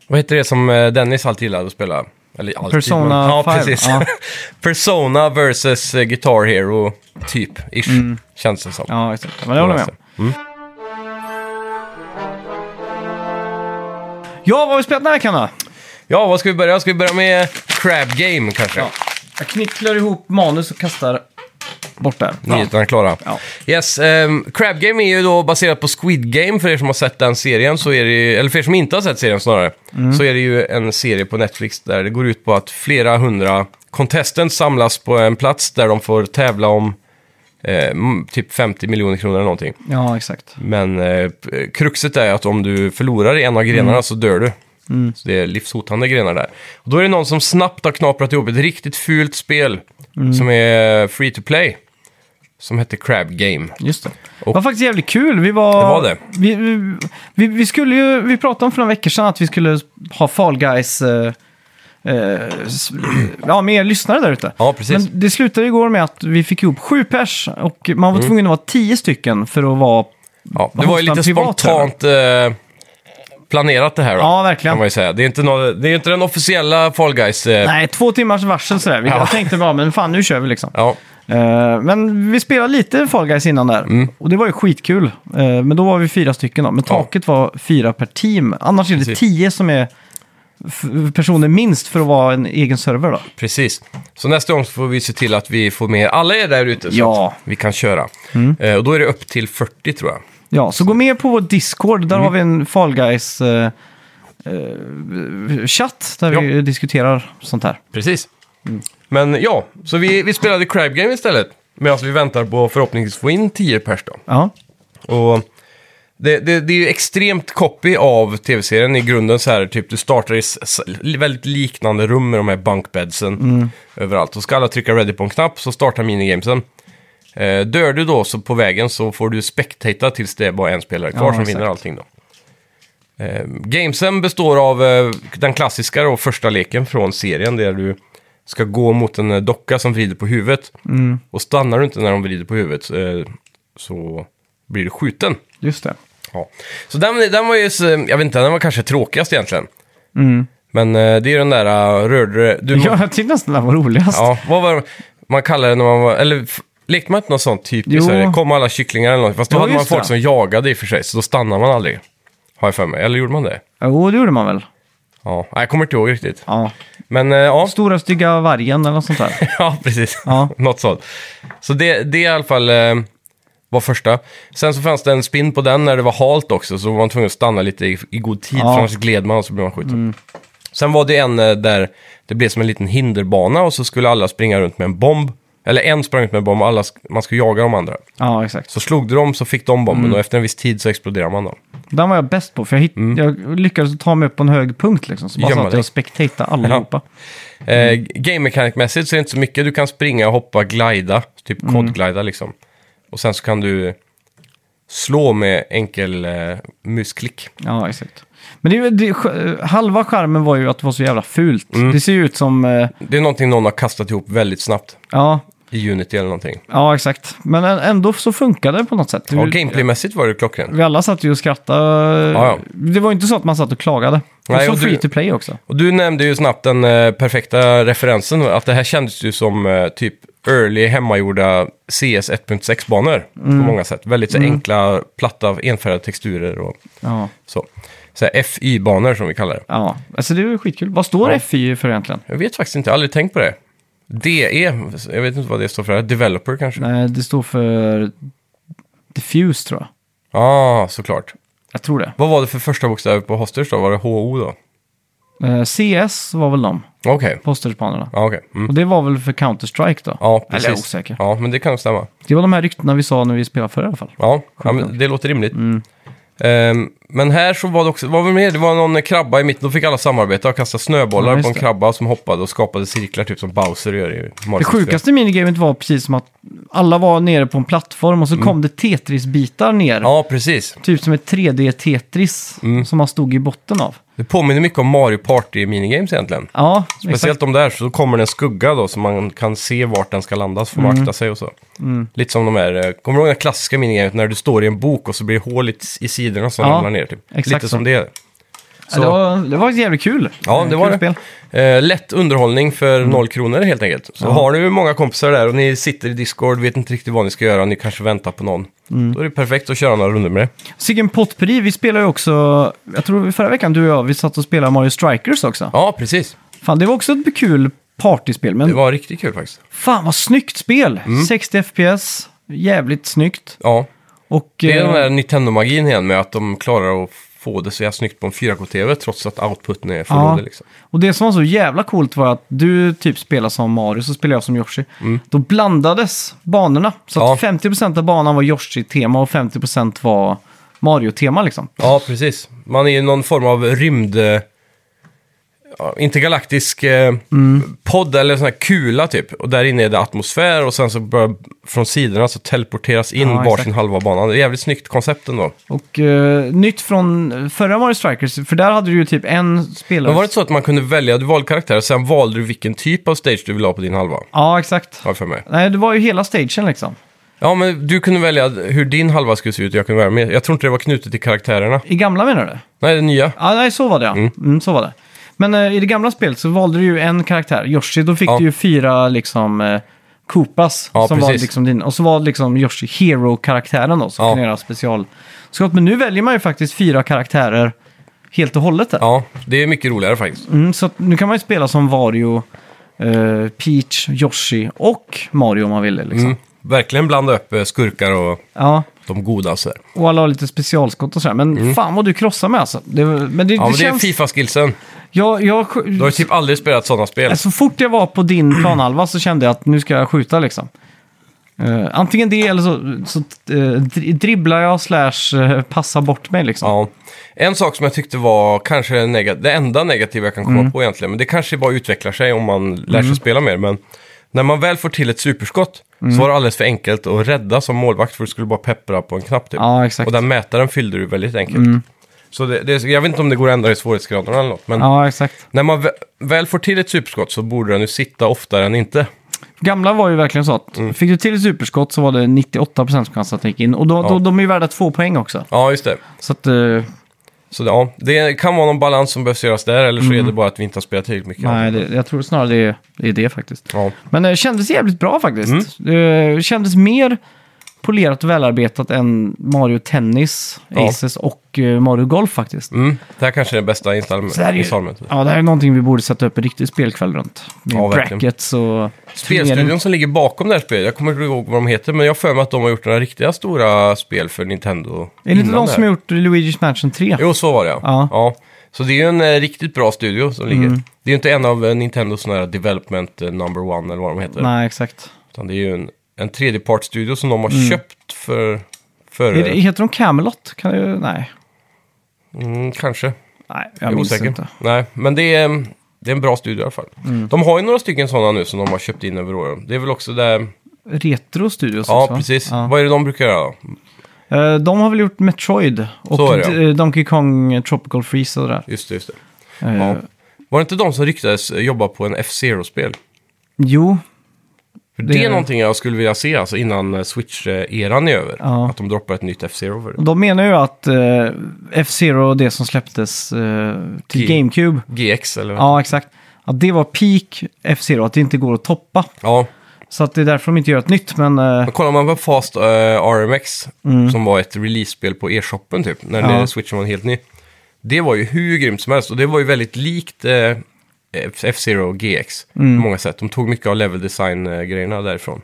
S2: Vad heter det som eh, Dennis alltid gillade att spela? Eller alltid,
S1: Persona
S2: men, Ja,
S1: 5,
S2: precis.
S1: ja.
S2: *laughs* Persona versus eh, Guitar Hero, typ. Ish, känns det som.
S1: Mm. Ja, exakt. Men det håller jag med om. Mm. Ja, vad har vi spelat den här veckan då?
S2: Ja, vad ska vi börja? Ska vi börja med Crab Game kanske?
S1: Jag knycklar ihop manus och kastar bort där.
S2: Nyheterna klara.
S1: Ja.
S2: Yes, ehm, Crab Game är ju då baserat på Squid Game. För er som har sett den serien, så är det ju, eller för er som inte har sett serien snarare,
S1: Mm.
S2: så är det ju en serie på Netflix där det går ut på att flera hundra contestants samlas på en plats där de får tävla om eh, m- typ 50 miljoner kronor eller någonting.
S1: Ja, exakt.
S2: Men eh, p- kruxet är att om du förlorar i en av grenarna
S1: Mm.
S2: så dör du. Så det är livshotande grenar där. Och då är det någon
S1: Mm.
S2: som snabbt har knaprat ihop ett riktigt fult spel som är free to play. som hette Crab Game.
S1: Just det. det
S2: Och-
S1: var faktiskt jävligt kul. Vi var...
S2: Det var det.
S1: Vi, vi- vi, vi skulle ju... Vi pratade om för några veckor sedan att vi skulle ha Fall Guys... Eh, eh, s- ja, med er lyssnare där ute.
S2: Ja, precis.
S1: Men det slutade igår med att vi fick ihop sju pers och man var
S2: Mm.
S1: tvungen att vara tio stycken för att vara...
S2: Ja, det
S1: Vad
S2: var ju
S1: hostar
S2: lite
S1: en privat
S2: spontant eh, planerat det här då.
S1: Ja, verkligen.
S2: Kan man ju säga. Det är inte, nå- det är inte den officiella Fall Guys. Eh,
S1: Nej, två timmars varsel sådär.
S2: Ja.
S1: Jag tänkte bara, men fan nu kör vi liksom.
S2: Ja,
S1: Eh, men vi spelade lite Fall Guys innan där. Och det var ju skitkul. Eh, men då var vi fyra stycken då. Men
S2: Mm. Ja.
S1: taket var fyra per team. Annars är det
S2: Precis.
S1: tio som är f- personer minst för att vara en egen server då.
S2: precis. Så nästa gång så får vi se till att vi får med alla er där ute så
S1: Ja. Mm.
S2: att vi kan köra. Eh, och då är det upp till 40 tror jag.
S1: Ja, så gå med på vår Discord.
S2: Mm.
S1: Där har vi en Fall Guys eh, eh, chatt där
S2: Ja.
S1: vi diskuterar sånt här.
S2: Precis. Men ja, så vi, vi spelade Crab Game istället. Medan vi väntar på förhoppningsvis få in 10 pers då.
S1: Ja,
S2: Och det, det, det är ju extremt copy av tv-serien i grunden så här, typ du startar i s- s- väldigt liknande rum med de här bunkbedsen överallt. Så ska alla trycka ready på en knapp så startar minigamesen. Eh, dör du då så på vägen så får du spectata tills det är bara en spelare kvar
S1: Ja,
S2: som
S1: exakt.
S2: vinner allting då. Eh, gamesen består av eh, den klassiska då, första leken från serien där du ska gå mot en eh, docka som vrider på huvudet.
S1: Mm.
S2: Och stannar du inte när de vrider på huvudet eh, så blir du skjuten.
S1: just det.
S2: Ja. Så den, den var ju, så- jag vet inte, den var kanske tråkigast egentligen. Men eh, det är ju den där uh, rörde... Du,
S1: Mm. Ja, jag tyckte nästan det var roligast.
S2: ja, vad var det man kallar det när man var... Eller f- lekte man inte något sånt typ?
S1: Jo.
S2: Så här, kom alla kycklingar eller något? Fast då
S1: Ja,
S2: hade man
S1: just
S2: folk
S1: det.
S2: som jagade i och för sig, så då stannar man aldrig. Har jag för mig. Eller gjorde man det?
S1: Jo, det gjorde man väl.
S2: Ja, Nej, jag kommer inte ihåg riktigt.
S1: Ja.
S2: Men eh, ja,
S1: Stora stygga vargen eller något sånt där.
S2: *laughs* ja precis.
S1: Ja.
S2: något sånt. Så det, det i alla fall eh, var första. Sen så fanns det en spin på den när det var halt också, så var man tvungen att stanna lite i, i god tid,
S1: Ja.
S2: för annars gled man och så blev man skjuten. Sen var det en eh, där det blev som en liten hinderbana och så skulle alla springa runt med en bomb. Eller en sprang ut med en bomb och alla, sk- man skulle jaga de andra.
S1: Ja, exakt.
S2: Så slog du dem så fick de
S1: Mm.
S2: bomben och efter en viss tid så exploderar man dem.
S1: Den var jag bäst på, för jag, hitt- jag lyckades ta mig upp på en hög punkt liksom. Så bara
S2: Mm. Gömma
S1: så att jag
S2: dig.
S1: spectatade allihopa.
S2: Eh, game mechanic-mässigt så är det inte så mycket. Du kan springa, hoppa, glida. Typ kodglida liksom. Och sen så kan du slå med enkel eh, musklick.
S1: Ja, exakt. Men det, är ju- det, är sk- halva skärmen var ju att det var så jävla fult.
S2: Mm.
S1: Det ser ju ut som... eh,
S2: Det är någonting någon har kastat ihop väldigt snabbt
S1: Ja,
S2: i Unity eller någonting.
S1: ja, exakt. Men ä- ändå så funkade det på något sätt.
S2: Ja,
S1: Vi-
S2: gameplay-mässigt var det klockrent.
S1: Vi alla satt ju och skrattade.
S2: Ja, ja.
S1: Det var ju inte så att man satt och klagade. Det var
S2: Nej,
S1: så
S2: och du-
S1: free to play också.
S2: Och du nämnde ju snabbt den eh, perfekta referensen, att det här kändes ju som eh, typ early hemmagjorda CS 1.6-banor på många sätt. Väldigt så enkla, platta, enfärgade texturer och
S1: Ja,
S2: så. Så här FY-banor som vi kallar det.
S1: ja. alltså det är ju skitkul. Vad står
S2: Ja.
S1: FI för egentligen?
S2: Jag vet faktiskt inte, jag har aldrig tänkt på det. DE, jag vet inte vad det står för, developer kanske?
S1: Nej, det står för diffuse tror jag.
S2: Ja, ah, såklart.
S1: Jag tror det.
S2: Vad var det för första bokstäver på Hosters då? Var det HO då?
S1: Eh, CS var väl de,
S2: Okej,
S1: posterspanerna.
S2: ja okej. Mm.
S1: Och det var väl för Counter-Strike då?
S2: Ja, precis.
S1: Eller jag är osäker.
S2: Ja, men det kan stämma.
S1: Det var de här ryktena vi sa när vi spelade förr i alla fall.
S2: Ja, ja men det låter rimligt.
S1: Mm.
S2: Ehm, men här så var det också, vad var det mer? Det var någon krabba i mitten, då fick alla samarbeta och kasta snöbollar
S1: Ja, just
S2: på en
S1: det.
S2: krabba som hoppade och skapade cirklar, typ som Bowser gör i Mario
S1: Det
S2: 64.
S1: sjukaste minigamet var precis som att alla var nere på en plattform och så kom det Tetris-bitar ner.
S2: Mm. Ja, Mm. precis.
S1: Typ som ett 3D-Tetris som man stod i botten av.
S2: Det påminner mycket om Mario Party minigames egentligen.
S1: Ja,
S2: Speciellt
S1: exakt.
S2: de där, så kommer det en skugga då, så man kan se vart den ska landa, så får
S1: Mm.
S2: man akta sig och så. Lite som de här, eh, kommer du ihåg den klassiska minigamet när du står i en bok och så blir det hål i, i sidorna som
S1: Ja,
S2: ramlar ner? Typ.
S1: exakt
S2: Lite
S1: så.
S2: som det.
S1: Ja, Det, var, det var jävligt kul.
S2: Ja, det
S1: kul
S2: var
S1: Spel. Mm.
S2: det. Eh, lätt underhållning för noll kronor helt enkelt. Så har du många kompisar där och ni sitter i Discord, vet inte riktigt vad ni ska göra, ni kanske väntar på någon.
S1: Mm.
S2: Då är det perfekt att köra några runder med det.
S1: Siggen Potpri, vi spelade ju också, jag tror förra veckan du och jag, vi satt och spelade Mario Strikers också.
S2: Ja, precis.
S1: Fan, det var också ett kul partyspel, men
S2: Det var Mm. riktigt kul faktiskt.
S1: fan vad snyggt spel! 60 FPS, jävligt snyggt.
S2: Ja,
S1: Och,
S2: det är
S1: eh,
S2: den där Nintendo-magin igen med att de klarar att få det så jävla snyggt på en 4K-TV trots att outputen är för
S1: Ja.
S2: dålig. Liksom.
S1: Och det som var så jävla coolt var att du typ spelar som Mario, så spelar jag som Yoshi. Då blandades banorna. Så att
S2: Mm. Ja.
S1: 50% av banan var Yoshi-tema och 50% var Mario-tema liksom.
S2: Ja, precis. Man är i någon form av rymd... eh, ja, intergalaktisk eh,
S1: Mm.
S2: podd eller sån här kula typ. Och där inne är det atmosfär och sen så börjar från sidorna så teleporteras in
S1: Ja,
S2: varsin
S1: exakt.
S2: halva banan. Det är jävligt snyggt koncept ändå.
S1: Och eh, nytt från förra Mario Strikers, för där hade du ju typ en spelare.
S2: Men var det inte så att man kunde välja, du valde karaktär och sen valde du vilken typ av stage du ville ha på din halva?
S1: Ja, exakt.
S2: Har jag för mig.
S1: Nej, det var ju hela stagen liksom.
S2: Ja, men du kunde välja hur din halva skulle se ut och jag kunde välja med. Jag tror inte det var knutet till karaktärerna.
S1: I gamla menar du?
S2: Nej, det nya.
S1: Ja, nej, så var det ja. Mm. så var det. Men eh, i det gamla spelet så valde du ju en karaktär, Yoshi. Då fick
S2: Ja.
S1: du ju fyra liksom eh, Koopas.
S2: Ja,
S1: som var
S2: precis.
S1: liksom din, och så var liksom Yoshi Hero-karaktären då, som
S2: Ja.
S1: kunde göra specialskott. Men nu väljer man ju faktiskt fyra karaktärer helt och hållet där.
S2: Ja, det är mycket roligare faktiskt.
S1: Mm, så att nu kan man ju spela som Wario, eh, Peach, Yoshi och Mario om man ville. Liksom.
S2: Mm. Verkligen blanda upp eh, skurkar och
S1: Ja,
S2: de goda och sådär.
S1: och alla har lite specialskott och sådär. Men fan vad du krossar med alltså. Det, men det,
S2: Mm. Ja,
S1: det
S2: men det är
S1: känns...
S2: Fifa-skillsen.
S1: jag, jag,
S2: Du har ju typ aldrig spelat sådana spel.
S1: Äh, Så fort jag var på din planhalva så kände jag att nu ska jag skjuta liksom. Eh, antingen det eller så, så eh, dri- dribblar jag slash eh, passar bort mig liksom.
S2: Ja. En sak som jag tyckte var kanske den nega- det enda negativa jag kan komma
S1: Mm.
S2: på egentligen, men det kanske bara utvecklar sig om man lär sig spela mer, men när man väl får till ett superskott
S1: Mm.
S2: så var det alldeles för enkelt att rädda som målvakt för du skulle bara peppra på en knapp typ.
S1: Ja, exakt. Mm.
S2: Och den mätaren fyllde du väldigt enkelt. Så det, det, jag vet inte om det går att ändra i svårighetsgraderna eller något, men
S1: Ja, exakt.
S2: när man vä- väl får till ett superskott så borde den ju sitta oftare än inte.
S1: Gamla var ju verkligen så att
S2: Mm.
S1: fick du till ett superskott så var det 98% chans att det gick in. Och då,
S2: Ja.
S1: då, de är ju värda två poäng också.
S2: Ja, just det.
S1: Så att, eh,
S2: Så det, ja, det kan vara någon balans som behövs göras där, eller så är det bara att vi inte har spelat tillräckligt mycket.
S1: Mm. nej, det, jag tror snarare det är, det är det faktiskt.
S2: Ja.
S1: Men det kändes jävligt bra faktiskt.
S2: Mm.
S1: Det kändes mer polerat och välarbetat än Mario Tennis,
S2: Ja.
S1: Aces och eh, Mario Golf faktiskt.
S2: Mm, det här kanske är den bästa
S1: Så här är
S2: installmen-
S1: ju-
S2: installmentet.
S1: Ja, det här är någonting vi borde sätta upp en riktig spelkväll runt. Med
S2: typ. Ja, verkligen.
S1: brackets och... turnering.
S2: Spelstudion som ligger bakom det här spelet, jag kommer inte ihåg vad de heter, men jag har för mig att de har gjort några riktiga stora spel för Nintendo.
S1: Är det inte de
S2: innan
S1: som
S2: här.
S1: har gjort Luigi's Mansion 3?
S2: Jo, så var det ja.
S1: Ja. Mm.
S2: ja. Så det är ju en eh, riktigt bra studio som ligger. Det är ju inte en av eh, Nintendos sådana här development eh, number one eller vad de heter.
S1: Nej, exakt.
S2: Utan det är ju en, en tredjepartsstudio som de har köpt för... för
S1: Mm. Är det, heter de Camelot? Kan det, nej.
S2: mm, kanske.
S1: Nej,
S2: Jag
S1: jag
S2: är
S1: minns
S2: osäker.
S1: inte. Mm.
S2: Nej, men det är, eh, det är en bra studio i alla fall. De har ju några stycken sådana nu som de har köpt in över åren. Det är väl också där...
S1: Retro Studios
S2: Ja,
S1: också.
S2: precis.
S1: Ja.
S2: Vad är det de brukar göra? då?
S1: Eh, De har väl gjort Metroid
S2: Så är
S1: och
S2: det, ja.
S1: D- Donkey Kong eh, Tropical Freeze och det där.
S2: Just det, just det.
S1: Eh,
S2: Ja. Var det inte de som ryktades jobba på en F-Zero-spel?
S1: Jo,
S2: För det...
S1: Det-
S2: är någonting jag skulle vilja se alltså, innan eh, Switch-eran är över.
S1: Ja.
S2: Att de droppar ett nytt F-Zero för det.
S1: och de menar ju att eh, F-Zero, det som släpptes eh, till
S2: G-
S1: GameCube,
S2: GX eller?
S1: ja exakt, att det var peak F-Zero, att det inte går att toppa.
S2: Ja.
S1: Så att det är därför de inte gör ett nytt, men... eh, Mm.
S2: Men kollar man på Fast eh, RMX, som var ett release-spel på e-shoppen typ, när
S1: Ja.
S2: det- Switchen var helt ny. Det var ju hur grymt som helst och det var ju väldigt likt eh, F- F-Zero och GX
S1: Mm.
S2: på många sätt. De tog mycket av level design-grejerna därifrån.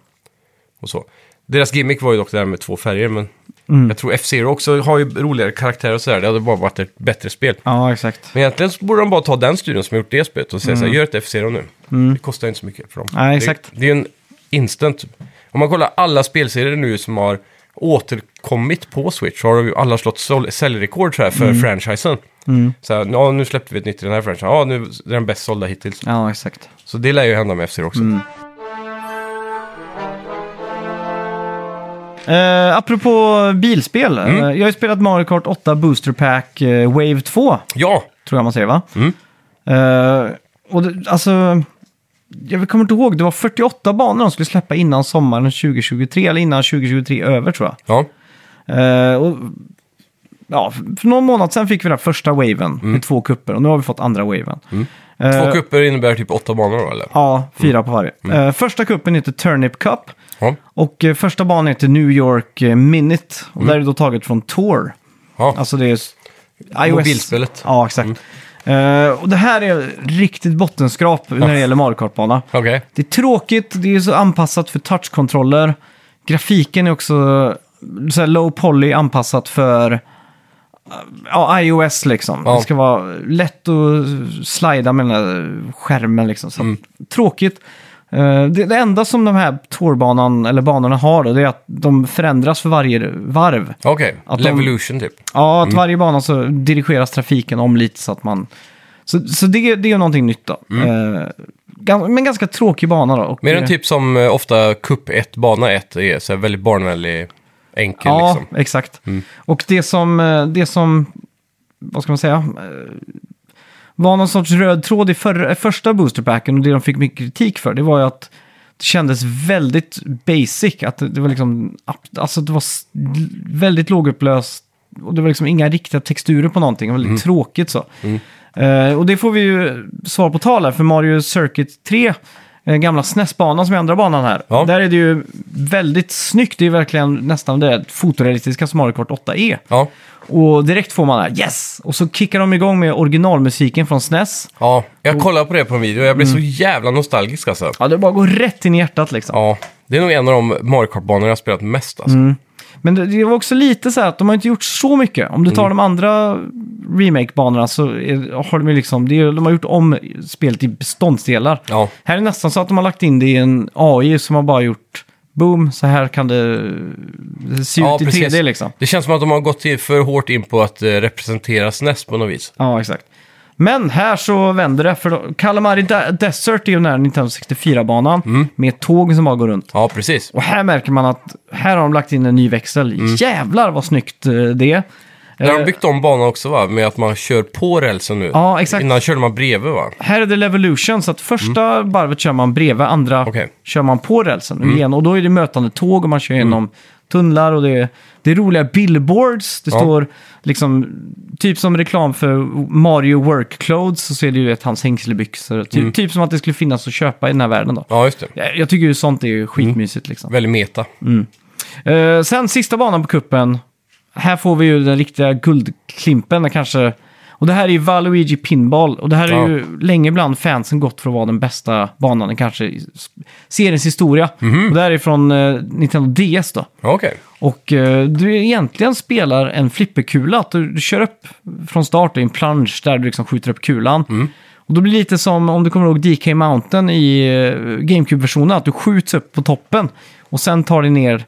S2: Och så. Deras gimmick var ju dock det här med två färger, men
S1: Mm.
S2: jag tror F-Zero också har ju roligare karaktärer och sådär. Det hade bara varit ett bättre spel.
S1: Ja, exakt.
S2: Men egentligen så borde de bara ta den studion som har gjort det spelet och säga så här, gör ett F-Zero nu. Det kostar ju inte så mycket för dem.
S1: Mm. Nej, exakt.
S2: Det, det är ju en instant. Om man kollar alla spelserier nu som har återkommit på Switch så har de ju alla slått sol- säljrekord så här för
S1: Mm.
S2: franchisen. Så här, ja, nu släppte vi ett nytt i den här franchisen. Ja, nu är det den bäst sålda hittills.
S1: Ja, exakt.
S2: Så det lär ju hända med F-Zero också.
S1: Mm. Eh, apropå bilspel, eh, jag har ju spelat Mario Kart 8 Booster Pack eh, Wave 2,
S2: Ja,
S1: tror jag man säger va? Eh, och det, alltså, jag kommer inte ihåg, det var 48 banor de skulle släppa innan sommaren 2023, eller innan 2023 över tror jag.
S2: ja,
S1: Eh, och, ja, för någon månad sedan fick vi den första waven med två kupper och nu har vi fått andra waven. Eh,
S2: två kupper innebär typ åtta banor då, eller?
S1: Ja, fyra på varje. Eh, första kuppen heter Turnip Cup.
S2: Ja,
S1: Och eh, första banan heter New York eh, Minute. Och där är det då taget från Tor.
S2: ja.
S1: Alltså det är s- iOS.
S2: Mobilspelet.
S1: Ja, exakt. Eh, och det här är riktigt bottenskrap när det gäller Mario Kart-bana.
S2: okej.
S1: Det är tråkigt, det är så anpassat för touchkontroller. Grafiken är också så här low poly anpassat för eh, ja, iOS liksom.
S2: Ja.
S1: Det ska vara lätt att slida med den här skärmen liksom. Så att- Tråkigt. Eh, Det, det enda som de här torbanan eller banorna har då, det är att de förändras för varje varv.
S2: Okej,
S1: Att de-
S2: Levolution typ.
S1: Ja, att varje bana så dirigeras trafiken om lite så att man Så, så det, det är ju någonting nytt då. Eh, gan- men ganska tråkig bana då. Och
S2: Mer en
S1: det-
S2: typ som eh, ofta Cup 1, bana 1 är så här väldigt barnvänlig, enkel
S1: Ja,
S2: liksom.
S1: exakt. Och det som, eh, det som, vad ska man säga, eh, var någon sorts röd tråd i förra- första boosterpacken och det de fick mycket kritik för, det var ju att det kändes väldigt basic. Att det det var liksom, app- alltså det var s- l- väldigt lågupplöst och det var liksom inga riktiga texturer på någonting. Det var väldigt tråkigt så. Eh, och det får vi ju svar på tal här, för Mario Circuit 3, eh, gamla SNES-banan som är andra banan här,
S2: Ja.
S1: där är det ju väldigt snyggt. Det är verkligen nästan det fotorealistiska som Mario Kart 8 är.
S2: Ja,
S1: Och direkt får man det här yes! Och så kickar de igång med originalmusiken från SNES.
S2: ja. jag kollade på det på en video jag blev
S1: Mm.
S2: så jävla nostalgisk alltså.
S1: Ja, det bara går rätt in i hjärtat liksom.
S2: Ja, det är nog en av de Mario Kart-banor jag har spelat mest alltså.
S1: Mm. Men det, det var också lite så här att de har inte gjort så mycket. Om du tar
S2: Mm.
S1: de andra remake-banorna så är, har de ju liksom, det är, ju- de har gjort om spelet i beståndsdelar.
S2: Ja.
S1: Här är det nästan så att de har lagt in det i en AI som har bara gjort boom, så här kan det se ut i 3D liksom.
S2: Det känns som att de har gått till för hårt in på att eh, representera SNES på något vis.
S1: Ja, exakt. Men här så vänder det, för då, Calamari De- Desert är ju den här Nintendo 64-banan
S2: Mm.
S1: med tåg som bara går runt.
S2: Ja, precis.
S1: Och här märker man att här har de lagt in en ny växel.
S2: Mm.
S1: Jävlar vad snyggt eh, det är.
S2: Där har
S1: Eh,
S2: de byggt om banan också va? Med att man kör på rälsen nu.
S1: Ja, exakt.
S2: Innan körde man bredvid va?
S1: Här är det Levolution, så att första varvet kör man bredvid, andra
S2: Mm. Okej. Mm.
S1: kör man på rälsen. Igen, och då är det mötande tåg och man kör genom tunnlar och det är, det är roliga billboards. Det
S2: Ja.
S1: står liksom, typ som reklam för Mario Work Clothes så ser det ju ett hans hängslebyxor. Typ, typ som att det skulle finnas att köpa i den här världen då.
S2: Mm. Ja, Mm. just det.
S1: Jag, jag tycker ju sånt är ju skitmysigt liksom.
S2: Väldigt meta.
S1: Eh, sen sista banan på kuppen. Här får vi ju den riktiga guldklimpen kanske. Och det här är ju Valuigi Pinball. Och det här
S2: Ja.
S1: är ju länge bland fansen gått för att vara den bästa banan i kanske i s- seriens historia. Och det här är från eh, Nintendo DS då.
S2: Ja, Okej.
S1: Och eh, du egentligen spelar en flipperkula. Att du, du kör upp från start i en plansch där du liksom skjuter upp kulan. Och då blir det lite som om du kommer ihåg DK Mountain i eh, GameCube-versionen. Att du skjuts upp på toppen och sen tar dig ner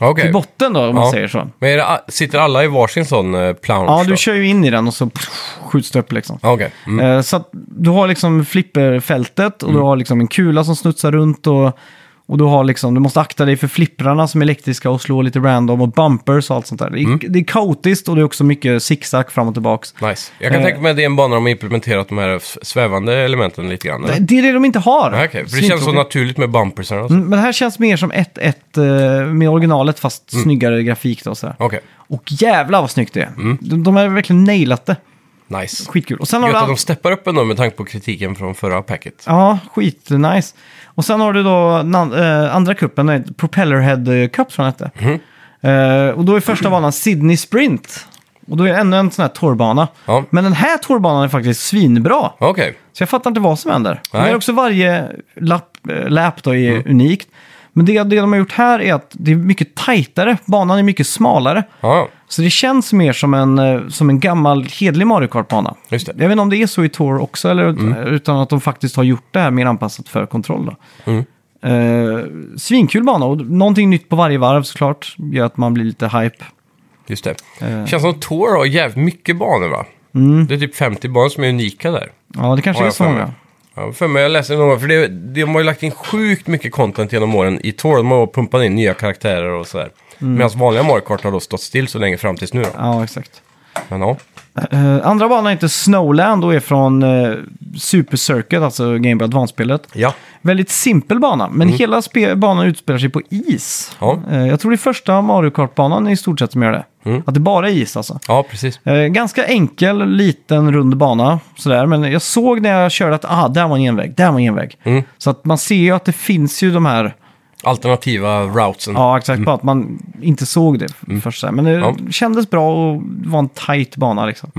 S2: Ja, okej.
S1: till botten då, om man
S2: Ja.
S1: säger så.
S2: Men är det, a- sitter alla i varsin sån eh, plansch?
S1: Ja,
S2: då?
S1: du kör ju in i den och så pff, skjuts det upp liksom.
S2: Ja, Okej. Mm.
S1: Eh, Så att du har liksom flipperfältet och du har liksom en kula som studsar runt och, och du har liksom, du måste akta dig för flipprarna som är elektriska och slå lite random och bumpers och allt sånt där. Det är,
S2: Mm.
S1: det är kaotiskt och det är också mycket zigzag fram och tillbaks.
S2: Nice. Jag kan
S1: Eh.
S2: tänka mig att det är en bana de har implementerat de här f- svävande elementen lite grann.
S1: Det,
S2: eller?
S1: det är det de inte har.
S2: Ja, Okej, för det känns så
S1: Svintråkigt.
S2: naturligt med bumpersarna och så.
S1: Mm, Men det här känns mer som 1-1 eh, med originalet fast
S2: Mm.
S1: snyggare grafik då. Så här.
S2: Okej,
S1: Och jävla vad snyggt det är. De, de har verkligen nailat det.
S2: nice.
S1: Skitkul. Och sen har
S2: Mm. Gött
S1: du
S2: att de steppar upp ändå med tanke på kritiken från förra packet.
S1: Ja, skitnice. Och sen har du då nan- eh, andra cupen, eh, Propellerhead Cup som den hette.
S2: Mhm.
S1: Eh, och då är första banan Sydney Sprint. Och då är det ännu en sån här torrbana.
S2: Ja.
S1: Men den här torrbanan är faktiskt svinbra.
S2: Okej,
S1: Så jag fattar inte vad som händer.
S2: Nej. Mm.
S1: Men också varje lapp, eh, lap då är unikt. Men det, det de har gjort här är att det är mycket tajtare. Banan är mycket smalare.
S2: ja,
S1: Så det känns mer som en, eh, som en gammal hedlig Mario Kart-bana.
S2: Just det. Mm.
S1: Jag vet inte om det är så i Tor också, eller, utan att de faktiskt har gjort det här mer anpassat för kontroll. Då.
S2: Mm.
S1: Eh, svinkul bana och någonting nytt på varje varv såklart gör att man blir lite hype.
S2: just det.
S1: Eh.
S2: Känns som Tor har jävligt mycket banor va?
S1: Mm.
S2: Det är typ 50 banor som är unika där.
S1: Ja, det kanske
S2: Ja,
S1: är
S2: jag
S1: så
S2: får
S1: många.
S2: med. Ja, för mig, jag läste någon gång, för det, de har ju lagt in sjukt mycket content genom åren i Tor. De har pumpat in nya karaktärer och sådär. Medan vanliga Mario Kart har då stått still så länge fram tills nu då.
S1: Mm. Ja, exakt.
S2: Men ja,
S1: Eh, andra banan heter Snowland och är från eh, Super Circuit, alltså Game Boy Advance-spelet.
S2: ja.
S1: Väldigt simpel bana, men hela spe- banan utspelar sig på is.
S2: Mm. Ja.
S1: Eh, jag tror det är första Mario Kart-banan i stort sett som gör det.
S2: Mm.
S1: Att det bara är is alltså.
S2: ja precis.
S1: Eh, ganska enkel, liten, rund bana. Sådär. Men jag såg när jag körde att ah, där var en genväg, där var en genväg.
S2: Mm.
S1: Så att man ser ju att det finns ju de här,
S2: Alternativa routsen.
S1: ja exakt, bara att man inte såg det först. Sådär. Men det
S2: Mm. Ja. Mm.
S1: kändes bra och det var en tight bana liksom.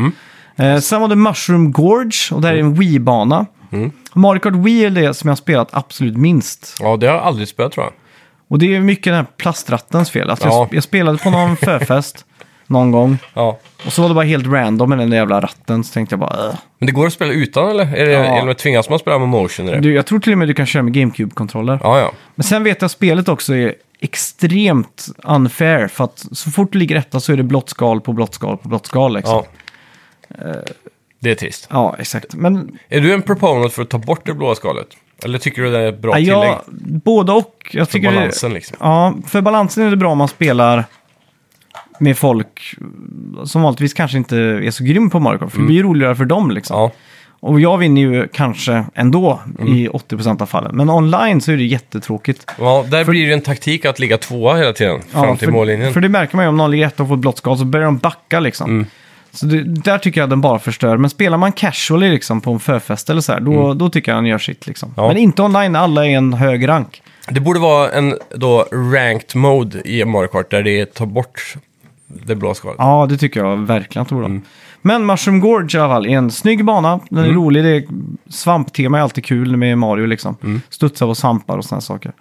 S1: Eh, sen var det Mushroom Gorge och där är en Wii-bana.
S2: Mm.
S1: Mario Kart Wii är det som jag har spelat absolut minst.
S2: Ja, det har jag aldrig spelat tror jag.
S1: Och det är mycket den här plastrattens fel. Alltså,
S2: Ja.
S1: jag, jag spelade på
S2: *laughs*
S1: någon förfest någon gång
S2: Ja.
S1: och så var det bara helt random med den där jävla ratten. Så tänkte jag bara, "Ugh."
S2: Men det går att spela utan eller? Är det,
S1: Ja.
S2: Eller tvingas man spela med motion i det?
S1: Du, jag tror till och med du kan köra med GameCube-kontroller.
S2: Ja, ja.
S1: Men sen vet jag att spelet också är extremt unfair. För att så fort du ligger etta så är det blått skal på blått skal på blått skal. Liksom.
S2: ja. Det är trist.
S1: Ja, exakt. Men
S2: Är du en proponent för att ta bort det blåa skalet? Eller tycker du det är ett bra
S1: ja,
S2: tillägg
S1: jag, både och. Jag
S2: för
S1: tycker det-
S2: balansen liksom?
S1: Ja, för balansen är det bra om man spelar med folk som vanligtvis kanske inte är så grym på Mario Kart. För det blir ju roligare för dem liksom.
S2: Mm. Ja,
S1: Och jag vinner ju kanske ändå
S2: Mm.
S1: i 80% av fallen. Men online så är det jättetråkigt.
S2: ja där blir det en taktik att ligga tvåa hela tiden fram till
S1: för,
S2: mållinjen. Mm.
S1: För det märker man ju om någon ligger etta och får ett blått skal så börjar de backa liksom. Så det, där tycker jag den bara förstör. Men spelar man casually liksom på en förfest eller så här, då, då tycker jag den gör sitt liksom.
S2: Mm. Ja.
S1: Men inte online när alla är en hög rank.
S2: Det borde vara en då ranked mode i Mario Kart där det är ta bort det blå skalet.
S1: Ja, det tycker jag verkligen att det borde vara.
S2: Mm.
S1: Men Mushroom Gorge i alla fall är en snygg bana. Den är rolig. Det är, svamptema är alltid kul med Mario liksom.
S2: Mm.
S1: Studsa på svampar och sådana saker.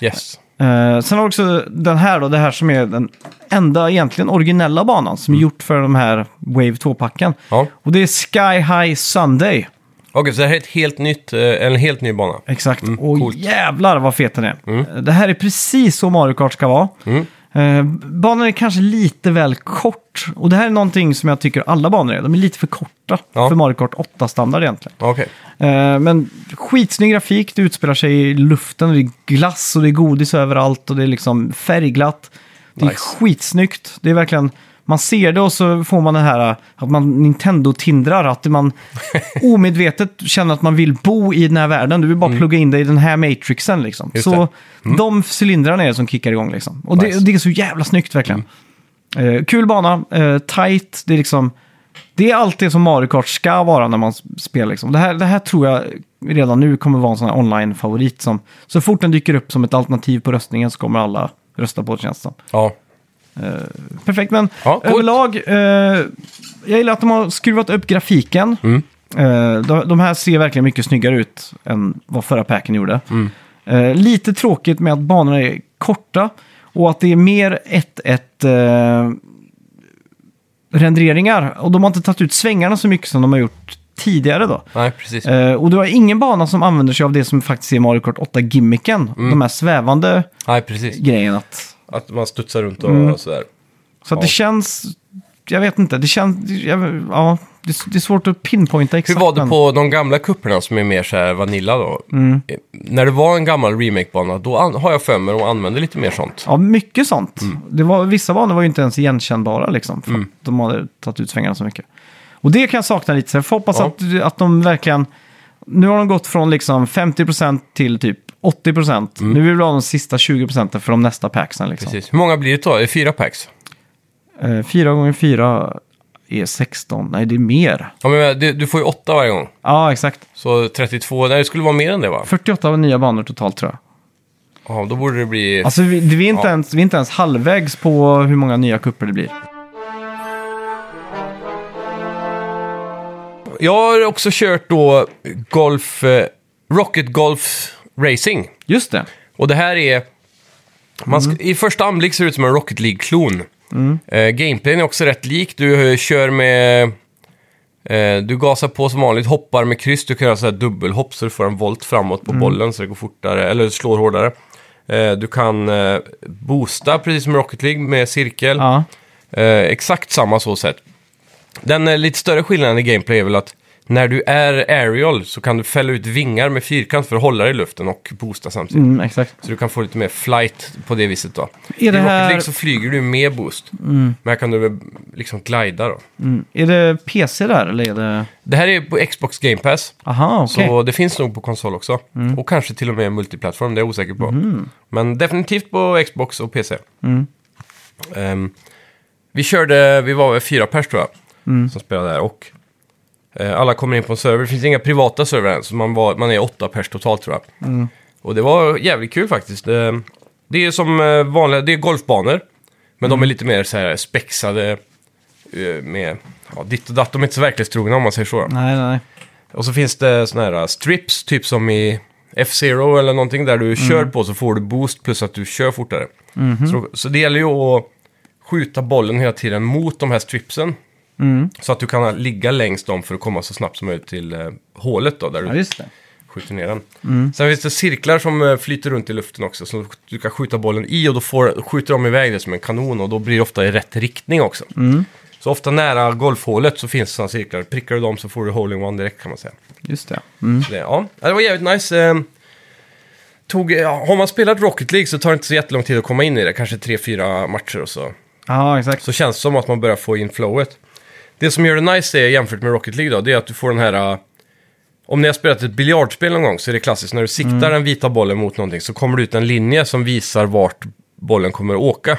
S2: Yes.
S1: Eh, sen har vi också den här då, det här som är den enda egentligen originella banan som är gjort för de här Wave 2-packen.
S2: Mm. Ja.
S1: Och det är Sky High Sunday.
S2: Okej, så det här är ett helt nytt, eh, en helt ny bana.
S1: Exakt. och
S2: Mm, coolt. Mm.
S1: jävlar vad fet den är. Eh, Det här är precis så Mario Kart ska vara. Eh, banan är kanske lite väl kort. Och det här är någonting som jag tycker alla banor är. De är lite för korta
S2: Ja.
S1: för Mario Kart 8-standard egentligen.
S2: Okej.
S1: Eh, men skitsnygg grafik, det utspelar sig i luften och det är glass och det är godis överallt och det är liksom färgglatt. Det är
S2: Nice.
S1: skitsnyggt. Det är verkligen, man ser det och så får man det här eh, att man Nintendo-tindrar, att
S2: *laughs*
S1: man omedvetet känner att man vill bo i den här världen. Du vill bara plugga in dig i den här matrixen liksom.
S2: Mm. Just Mm.
S1: Så de cylindrarna är det som kickar igång liksom. Och
S2: Nice. Mm.
S1: det, det är så jävla snyggt verkligen. Eh, kul bana, eh, tight, det är liksom... Det är allt det som Mario Kart ska vara när man s- spelar. Liksom. Det, här, det här tror jag redan nu kommer vara en sån här online-favorit som så fort den dyker upp som ett alternativ på röstningen så kommer alla rösta på det känns det som.
S2: Ja.
S1: Perfekt, men
S2: Ja, coolt.
S1: överlag, eh, jag gillar att de har skruvat upp grafiken.
S2: Mm.
S1: Eh, de, de här ser verkligen mycket snyggare ut än vad förra packen gjorde.
S2: Mm.
S1: Eh, lite tråkigt med att banorna är korta och att det är mer ett, ett eh, renderingar. Och de har inte tagit ut svängarna så mycket som de har gjort tidigare då.
S2: Nej, precis.
S1: Eh, och du har ingen bana som använder sig av det som faktiskt är Mario Kart 8-gimmicken.
S2: Mm.
S1: De här svävande
S2: Nej, precis.
S1: grejen att
S2: Att man studsar runt och
S1: Mm.
S2: sådär.
S1: så att
S2: Ja.
S1: det känns, jag vet inte, det känns, jag, ja, det, det är svårt att pinpointa
S2: Hur
S1: exakt.
S2: var det
S1: men-
S2: på de gamla kupperna som är mer så här vanilla då?
S1: Mm.
S2: Eh, När det var en gammal remake-bana, då an- har jag för mig att de använde lite mer sånt.
S1: Ja, mycket sånt.
S2: Mm.
S1: Det var, vissa banor var ju inte ens igenkännbara liksom, för att de hade tagit ut svängarna så mycket. Och det kan jag sakna lite, så jag får hoppas
S2: Ja.
S1: att, att de verkligen, nu har de gått från liksom 50% till typ 80%. Nu vill vi ha de sista 20% för de nästa packsen liksom.
S2: Mm. Precis. Hur många blir det då? Är det fyra packs?
S1: Eh, 4 gånger 4 är 16, nej det är mer.
S2: Ja, men eh, du, du får ju åtta varje gång.
S1: Ja, exakt.
S2: Så 32, nej det skulle vara mer än det va?
S1: 48 nya banor totalt tror jag.
S2: Ja, då borde det bli...
S1: Alltså vi, vi, är inte
S2: Ja.
S1: ens, vi är inte ens halvvägs på hur många nya kupper det blir.
S2: Jag har också kört då Golf... Eh, Rocket Golf Racing.
S1: Just det.
S2: Och det här är... Man sk- I första anblick ser det ut som en Rocket League-klon. Eh, gameplayen är också rätt lik. Du eh, kör med... Eh, du gasar på som vanligt, hoppar med kryss. Du kan göra så här dubbelhopp så du får en volt framåt på bollen så det går fortare, eller slår hårdare. Eh, du kan eh, boosta precis som Rocket League med cirkel.
S1: Ja.
S2: Eh, exakt samma så sätt. Den eh, lite större skillnaden i gameplay är väl att när du är aerial så kan du fälla ut vingar med fyrkant för att hålla dig i luften och boosta samtidigt.
S1: Mm, exakt.
S2: Så du kan få lite mer flight på det viset då. I
S1: det
S2: Rocket
S1: här-
S2: League så flyger du med boost. Men här kan du liksom glida då.
S1: Mm. Är det PC där eller är det...
S2: Det här är på Xbox Game Pass.
S1: Aha, okej.
S2: Så det finns nog på konsol också. Och kanske till och med multiplattform, det är jag osäker på. Men definitivt på Xbox och PC. Ehm, vi körde, vi var väl fyra pers tror jag, som spelade där. Och eh, alla kommer in på en server, det finns inga privata servrar än, så man, var, man är åtta pers totalt tror jag. Och det var jävligt kul faktiskt. Det, det är som eh, vanliga, det är golfbanor. Men de är lite mer så här spexade eh, med ja, ditt och datt. De är inte så verklighetstrogna om man säger så.
S1: Nej, nej, nej.
S2: Och så finns det såna här strips, typ som i F-Zero eller någonting, där du
S1: Mm.
S2: kör på så får du boost plus att du kör fortare.
S1: Mhm.
S2: Så, så det gäller ju att skjuta bollen hela tiden mot de här stripsen.
S1: Mm.
S2: Så att du kan ligga längs dem för att komma så snabbt som möjligt till eh, hålet då, där
S1: Ja,
S2: du
S1: just Mm. det.
S2: skjuter ner den. Sen finns det cirklar som eh, flyter runt i luften också, som du
S1: Mm.
S2: kan skjuta bollen i och då får, skjuter de iväg det som en kanon och då blir det ofta i rätt riktning också. Så ofta nära golfhålet så finns sådana cirklar. Prickar du dem så får du hole-in-one direkt kan man säga.
S1: Just det. Mm.
S2: Så det, ja. Ja, det var jävligt nice. Ehm, Tog, ja, har man spelat Rocket League så tar det inte så jättelång tid att komma in i det. Kanske tre, fyra matcher och så.
S1: Ja, exakt.
S2: Så känns det som att man börjar få in flowet. Det som gör det nice är, jämfört med Rocket League då, det är att du får den här... äh, Om ni har spelat ett biljardspel någon gång så är det klassiskt när du siktar den vita bollen mot någonting så kommer det ut en linje som visar vart bollen kommer att åka.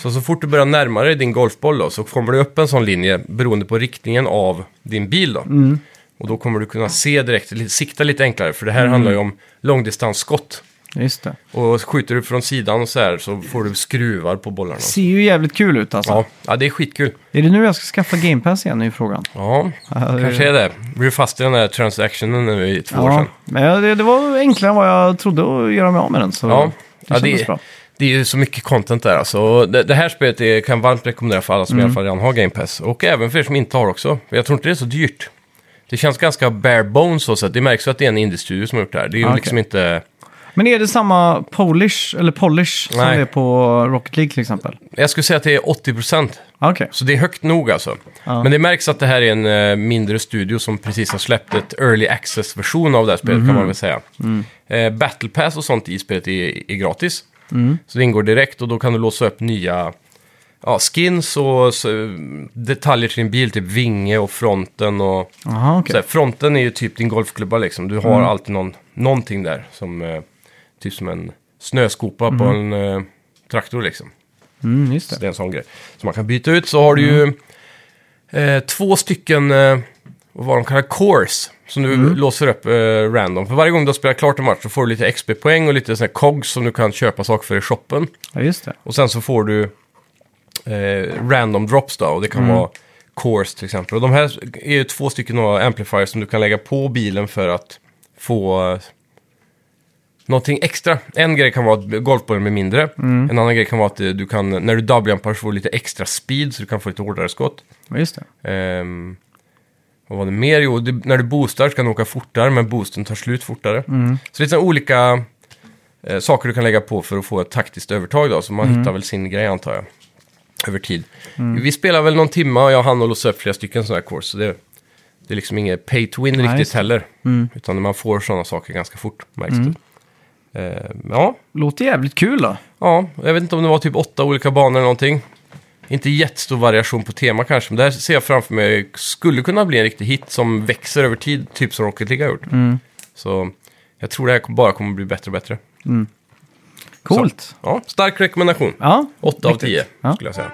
S2: Så så fort du börjar närma dig din golfboll då, så kommer det upp en sån linje beroende på riktningen av din bil då. Och då kommer du kunna se direkt, li- sikta lite enklare, för det här handlar ju om långdistansskott.
S1: Just det.
S2: Och skjuter du från sidan och så här så får du skruvar på bollarna.
S1: Ser ju jävligt kul ut alltså.
S2: Ja, ja, det är skitkul.
S1: Är det nu jag ska skaffa Game Pass igen är ju frågan.
S2: Ja,
S1: det-
S2: kanske är det. Vi är fast i den där transactionen nu i två år
S1: Ja,
S2: sedan.
S1: men ja, det, det var enklare än vad jag trodde att göra mig av med den. Så
S2: Ja,
S1: det
S2: ja,
S1: kändes
S2: det,
S1: bra.
S2: det är ju så mycket content där alltså. Och Det, det här spelet är, kan jag varmt rekommendera för alla som i
S1: Mm.
S2: alla fall redan har Game Pass. Och även för er som inte har också. För Jag tror inte det är så dyrt. Det känns ganska bare bones så sätt. Det märks ju att det är en indie-studio som har gjort det här. Det är ju
S1: Ja, Ah, okej.
S2: liksom inte...
S1: Men är det samma Polish, eller Polish, som
S2: Nej.
S1: det är på Rocket League till exempel?
S2: Jag skulle säga att det är 80%.
S1: Ah, Okej.
S2: Så det är högt nog alltså.
S1: Ja.
S2: Men det märks att det här är en eh, mindre studio som precis har släppt ett early access-version av det här spelet
S1: Mhm.
S2: kan man väl säga.
S1: Mm.
S2: Eh, Battle Pass och sånt i spelet är, är gratis.
S1: Mm.
S2: Så det ingår direkt och då kan du låsa upp nya ja, skins och så, detaljer till din bil, typ vinge och fronten och
S1: Aha, okej. Mm.
S2: så här, fronten är ju typ din golfklubba liksom. Du har alltid någon, någonting där som eh, typ som en snöskopa på en eh, traktor liksom.
S1: Mm, just
S2: Så
S1: det. Mm.
S2: det är en sån grej. Så man kan byta ut. Så har du ju eh, två stycken, eh, vad de kallar cores, som du
S1: Mm.
S2: låser upp eh, random. För varje gång du har spelat klart en match så får du lite XP-poäng och lite såna här cogs som du kan köpa saker för i shoppen.
S1: Ja, just det.
S2: Och sen så får du eh, random drops då, och det kan vara cores till exempel. Och de här är ju två stycken av amplifiers som du kan lägga på bilen för att få eh, någonting extra. En grej kan vara att golfbollen blir mindre. En annan grej kan vara att eh, du kan, när du doublejumpar så får du lite extra speed så du kan få lite hårdare skott.
S1: Ja, just det.
S2: Ehm, vad var det mer? Jo, det, när du boostar så kan du åka fortare, men boosten tar slut fortare. Så det är såna olika eh, saker du kan lägga på för att få ett taktiskt övertag då, så man hittar väl sin grej antar jag. Över tid. Vi spelar väl någon timma och jag hann och låsa upp flera stycken sådana här kurs, så det, det är liksom inget pay to win
S1: just
S2: riktigt
S1: det.
S2: heller. Utan man får sådana saker ganska fort, märks det. Ehm, ja,
S1: Låter jävligt kul då.
S2: Ja, jag vet inte om det var typ åtta olika banor eller någonting. Inte jättestor variation på tema kanske, men det här ser jag framför mig skulle kunna bli en riktig hit som växer över tid, typ som Rocket League har gjort.
S1: Mm.
S2: Så jag tror det här bara kommer bli bättre och bättre.
S1: Coolt.
S2: Ja, stark rekommendation.
S1: Ja,
S2: 8 av
S1: riktigt.
S2: 10
S1: Ja.
S2: skulle jag säga.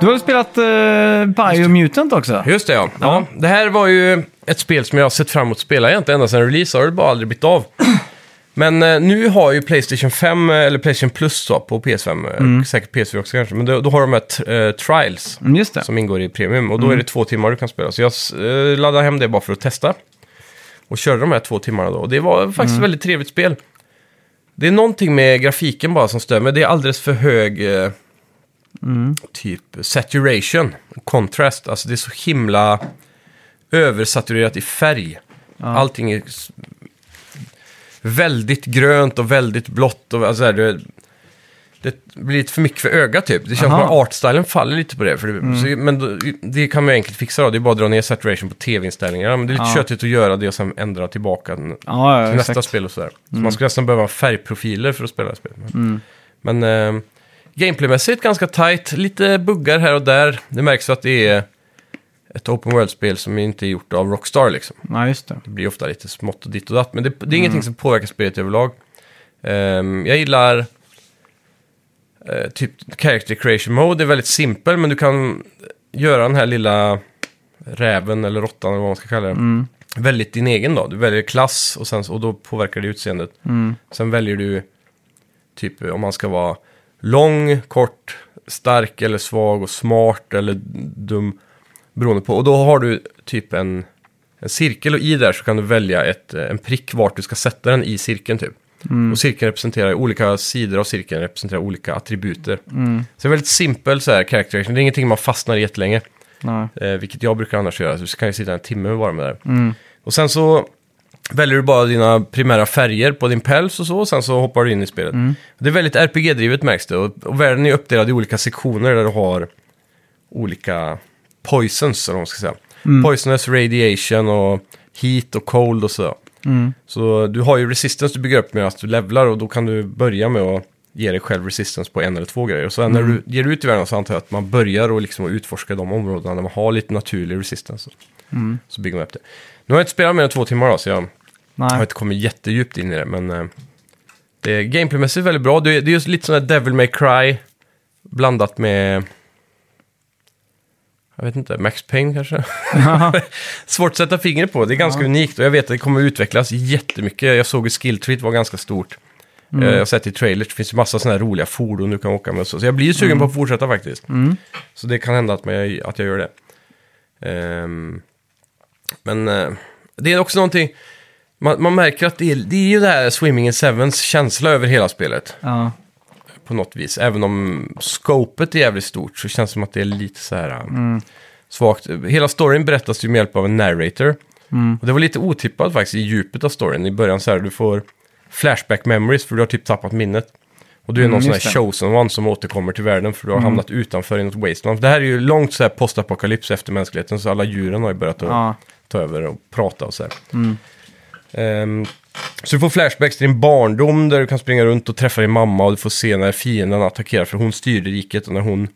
S1: Du har ju spelat eh, Biomutant också.
S2: Just det ja. ja. Det här var ju ett spel som jag har sett fram emot att spela egentligen ända sedan release. Har det bara aldrig blivit av. *clears throat* Men eh, nu har ju Playstation 5, eh, eller Playstation Plus då, på PS5, eh, säkert PS4 också kanske, men då, då har de här tr- eh, Trials.
S1: Mm, just det.
S2: som ingår i premium. Och då är det två timmar du kan spela. Så jag eh, laddade hem det bara för att testa. Och körde de här två timmarna då. Och det var faktiskt ett väldigt trevligt spel. Det är någonting med grafiken bara som stör mig. Det är alldeles för hög eh, typ saturation, contrast. Alltså det är så himla översaturerat i färg. Allting är s- väldigt grönt och väldigt blått. Och, alltså, så här, det, det blir lite för mycket för ögat typ. Det känns
S1: Aha. Mm.
S2: som att artstylen faller lite på det. För det så, men då, det kan man ju enkelt fixa då. Det är bara att dra ner saturation på tv-inställningarna. Men det är lite
S1: Ja.
S2: tjötigt att göra det och sen ändra tillbaka den
S1: Ja, ja
S2: till nästa
S1: exakt. Mm.
S2: spel och sådär. Så man skulle nästan behöva ha färgprofiler för att spela det här spelet. Men, men eh, gameplaymässigt ganska tight, lite buggar här och där. Det märks ju att det är ett open world-spel som inte är gjort av Rockstar liksom.
S1: Ja, just det.
S2: Det blir ofta lite smått och ditt och datt, men det, det är ingenting som påverkar spelet överlag. Ehm, jag gillar eh, typ character creation mode, det är väldigt simpel, men du kan göra den här lilla räven eller råttan eller vad man ska kalla det. Väldigt din egen då. Du väljer klass och, sen, och då påverkar det utseendet. Sen väljer du typ om man ska vara lång, kort, stark eller svag och smart eller dum. Beroende på. Och då har du typ en, en cirkel och i där så kan du välja ett, eh, en prick vart du ska sätta den i cirkeln typ. Och cirkeln representerar, olika sidor av cirkeln representerar olika attributer. Så det är väldigt simpel så här character action. Det är ingenting man fastnar i jättelänge.
S1: Nej.
S2: Eh, vilket jag brukar annars göra, så kan jag sitta en timme och vara med där. Och sen så väljer du bara dina primära färger på din päls och så, och sen så hoppar du in i spelet. Det är väldigt RPG-drivet märks det, och, och världen är uppdelad i olika sektioner där du har olika poisons, eller vad man ska säga. Poisonous radiation och heat och cold och så. Så du har ju resistance du bygger upp med att du levlar och då kan du börja med att ge dig själv resistance på en eller två grejer. Och sen när du ger ut i världen så antar jag att man börjar att liksom utforska de områdena där man har lite naturlig resistance. Så bygger man upp det. Nu har jag inte spelat mer än två timmar då, så jag jag har
S1: Nej.
S2: inte kommit jättedjupt in i det, men eh, det är gameplaymässigt väldigt bra. Det är, det är just lite sån där Devil May Cry blandat med... Jag vet inte, Max Payne kanske? *laughs* Svårt att sätta fingret på. Det är ganska unikt och jag vet att det kommer utvecklas jättemycket. Jag såg att skilltreat var ganska stort. Eh, Jag har sett i trailers, det finns ju massa såna här roliga fordon du kan åka med och så. Så jag blir ju sugen på att fortsätta faktiskt. Så det kan hända att, man, att jag gör det. Ehm, men eh, det är också någonting... Man, man märker att det är, det är ju det här Swimming in Sevens känsla över hela spelet.
S1: Ja.
S2: På något vis. Även om scopet är jävligt stort så känns det som att det är lite så här eh,
S1: Mm.
S2: svagt. Hela storyn berättas ju med hjälp av en narrator.
S1: Mm.
S2: Och det var lite otippat faktiskt i djupet av storyn. I början så här, du får flashback memories för du har typ tappat minnet. Och du är någon sån
S1: Mm,
S2: här
S1: just det. Mm.
S2: chosen one som återkommer till världen för du har hamnat utanför i något wasteland. Det här är ju långt så här postapokalyps efter mänskligheten så alla djuren har ju börjat att
S1: Ja.
S2: ta över och prata och så här. Ehm, så du får flashbacks till din barndom där du kan springa runt och träffa din mamma och du får se när fienden attackerar för hon styrde riket och när hon,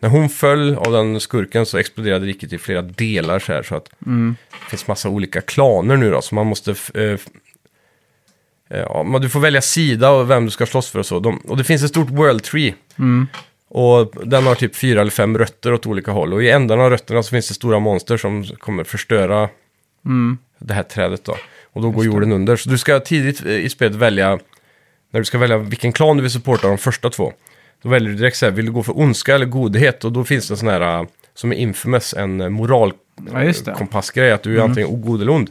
S2: när hon föll av den skurken så exploderade riket i flera delar så här så att det finns massa olika klaner nu då så man måste f- eh, f- eh, Ja, men du får välja sida och vem du ska slåss för och så. De, och det finns ett stort world tree. Och den har typ fyra eller fem rötter åt olika håll. Och i ändarna av rötterna så finns det stora monster som kommer förstöra
S1: Mm.
S2: det här trädet då. Och då går jorden under. Så du ska tidigt eh, i spelet välja, när du ska välja vilken klan du vill supporta de första två. Då väljer du direkt så här, vill du gå för ondska eller godhet? Och då finns det en sån här, eh, som är infamous, en eh, moral
S1: Ja, just det. Mm.
S2: eh, kompassgrej, att du är antingen god eller ond.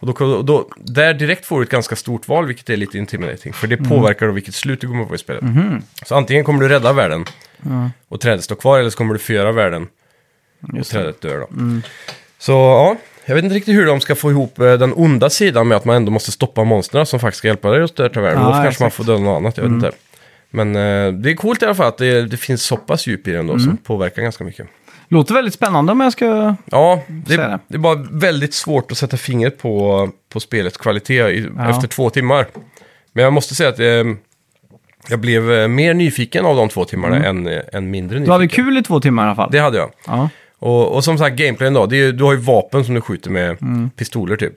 S2: Och då, och då, där direkt får du ett ganska stort val, vilket är lite intimidating. För det
S1: Mm.
S2: påverkar då vilket slut du kommer få i spelet.
S1: Mhm.
S2: Så antingen kommer du rädda världen och trädet står kvar, eller så kommer du förgöra världen
S1: Mm,
S2: och trädet dör då. Så ja, jag vet inte riktigt hur de ska få ihop eh, den onda sidan med att man ändå måste stoppa monstren som faktiskt ska hjälpa dig att störa världen.
S1: Ja,
S2: då kanske man
S1: exakt. Mm.
S2: får döda något annat, jag vet inte. Men eh, det är coolt i alla fall att det, det finns så pass djup i den då,
S1: Mm.
S2: som påverkar ganska mycket.
S1: Låter väldigt spännande om jag ska...
S2: Ja, det,
S1: Så är det.
S2: det. är bara väldigt svårt att sätta fingret på, på spelets kvalitet i,
S1: Ja.
S2: efter två timmar. Men jag måste säga att eh, jag blev eh, mer nyfiken av de två timmarna än, eh, än mindre
S1: Du
S2: nyfiken.
S1: Mm. hade kul i två timmar i alla fall.
S2: Det hade jag.
S1: Ja.
S2: Och, och som sagt, gameplayen då, det är, ju- du har ju vapen som du skjuter med pistoler typ.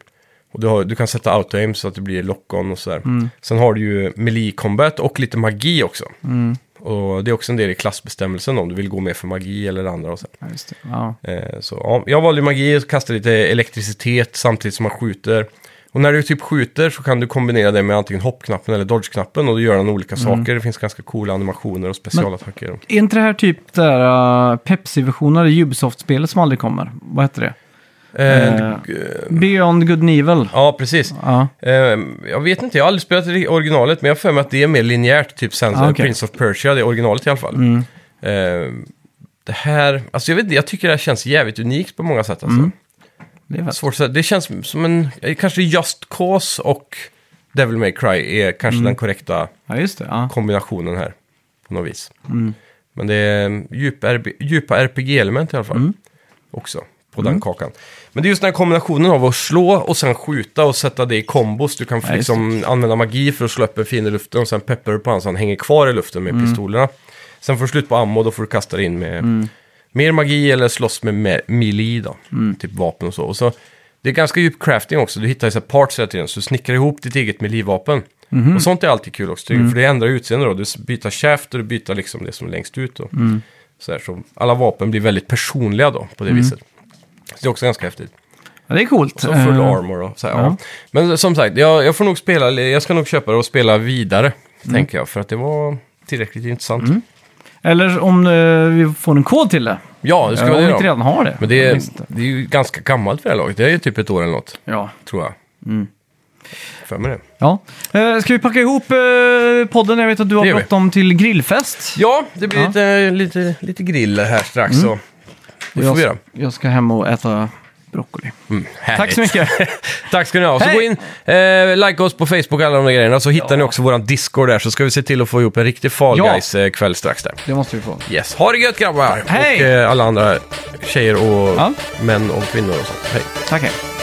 S2: Och du, har, du kan sätta auto-aim så att det blir lock-on och sådär. Sen har du ju melee combat och lite magi också. Och det är också en del i klassbestämmelsen om du vill gå med för magi eller det andra och så.
S1: Ja, just det. Ja.
S2: Eh, Så, ja, jag valde ju magi och kastade lite elektricitet samtidigt som man skjuter. Och när du typ skjuter så kan du kombinera det med antingen hoppknappen eller dodge-knappen och då gör den olika saker. Det finns ganska coola animationer och specialattacker.
S1: Är inte det här typ det här uh, Pepsi-versionen av Ubisoft-spelet som aldrig kommer? Vad heter det?
S2: Eh,
S1: Eh, Beyond Good and Evil.
S2: ja, precis.
S1: Ja.
S2: Eh, jag vet inte, jag har aldrig spelat i originalet men jag har för mig att det är mer linjärt. Typ sen,
S1: Ah, okej. Mm.
S2: Prince of Persia, det är originalet i alla fall. Eh, det här, alltså jag vet inte, jag tycker det här känns jävligt unikt på många sätt alltså.
S1: Mm. Det är väl.
S2: Svårt att säga. Det känns som en... eh, Kanske Just Cause och Devil May Cry är
S1: Mm.
S2: kanske den korrekta
S1: Ja, just det. Ja.
S2: kombinationen här. På något vis.
S1: Mm.
S2: Men det är ehm, djupa, RB djupa RPG-element i alla
S1: Mm.
S2: fall. Också. På den kakan. Men det är just den här kombinationen av att slå och sen skjuta och sätta det i kombos. Du kan
S1: Ja, just
S2: liksom använda magi för att slå upp en fiende i luften och sen peppar du på honom så han hänger kvar i luften med
S1: Mm.
S2: pistolerna. Sen får du slut på ammo och då får du kasta dig in med
S1: Mm.
S2: mer magi eller slåss med me melee då.
S1: Mm.
S2: Typ vapen och så. Och så. Det är ganska djup crafting också. Du hittar ju så här parts hela tiden. Så du snickrar ihop ditt eget melee-vapen.
S1: Mhm.
S2: Och sånt är alltid kul också. tycker jag,
S1: Mm.
S2: För det ändrar utseende då. Du s- byter käft och du byter liksom det som är längst ut. Då.
S1: Mm.
S2: Så, här, så alla vapen blir väldigt personliga då på det
S1: Mm.
S2: viset. Så det är också ganska häftigt.
S1: ja, det är coolt.
S2: Så full
S1: Eh,
S2: armor och så här, ja. Men som sagt, jag, jag får nog spela, jag ska nog köpa det och spela vidare.
S1: Mm.
S2: Tänker jag, för att det var tillräckligt intressant.
S1: Eller om eh, vi får en kod till det.
S2: Ja, det ska
S1: Eh,
S2: vara
S1: om vi
S2: det
S1: inte
S2: då.
S1: redan har det.
S2: Men det är,
S1: Visst.
S2: det är ju ganska gammalt för det här laget. Det är ju typ ett år eller något,
S1: Ja.
S2: tror jag.
S1: Mm.
S2: För mig det.
S1: ja. Eh, ska vi packa ihop eh, podden? Jag vet att du har
S2: Det gör vi.
S1: bråttom till grillfest.
S2: Ja, det blir
S1: Ja. Mm.
S2: Lite, lite, lite grill här strax. Så.
S1: Och
S2: Det får vi
S1: jag,
S2: göra. Mm.
S1: jag ska hem och äta broccoli. Tack så
S2: Härligt.
S1: mycket.
S2: *laughs* Tack ska ni ha. Så
S1: Hej!
S2: gå in, eh, like oss på Facebook alla de där grejerna. Så hittar ni också våran Discord där så ska vi se till att få ihop en riktig Fall
S1: Ja.
S2: Guys eh, kväll strax där.
S1: Det måste vi få.
S2: Yes, ha det gött grabbar!
S1: Hej!
S2: Och eh, alla andra tjejer och
S1: Ja.
S2: män och kvinnor och sånt. Hej!
S1: Tack hej.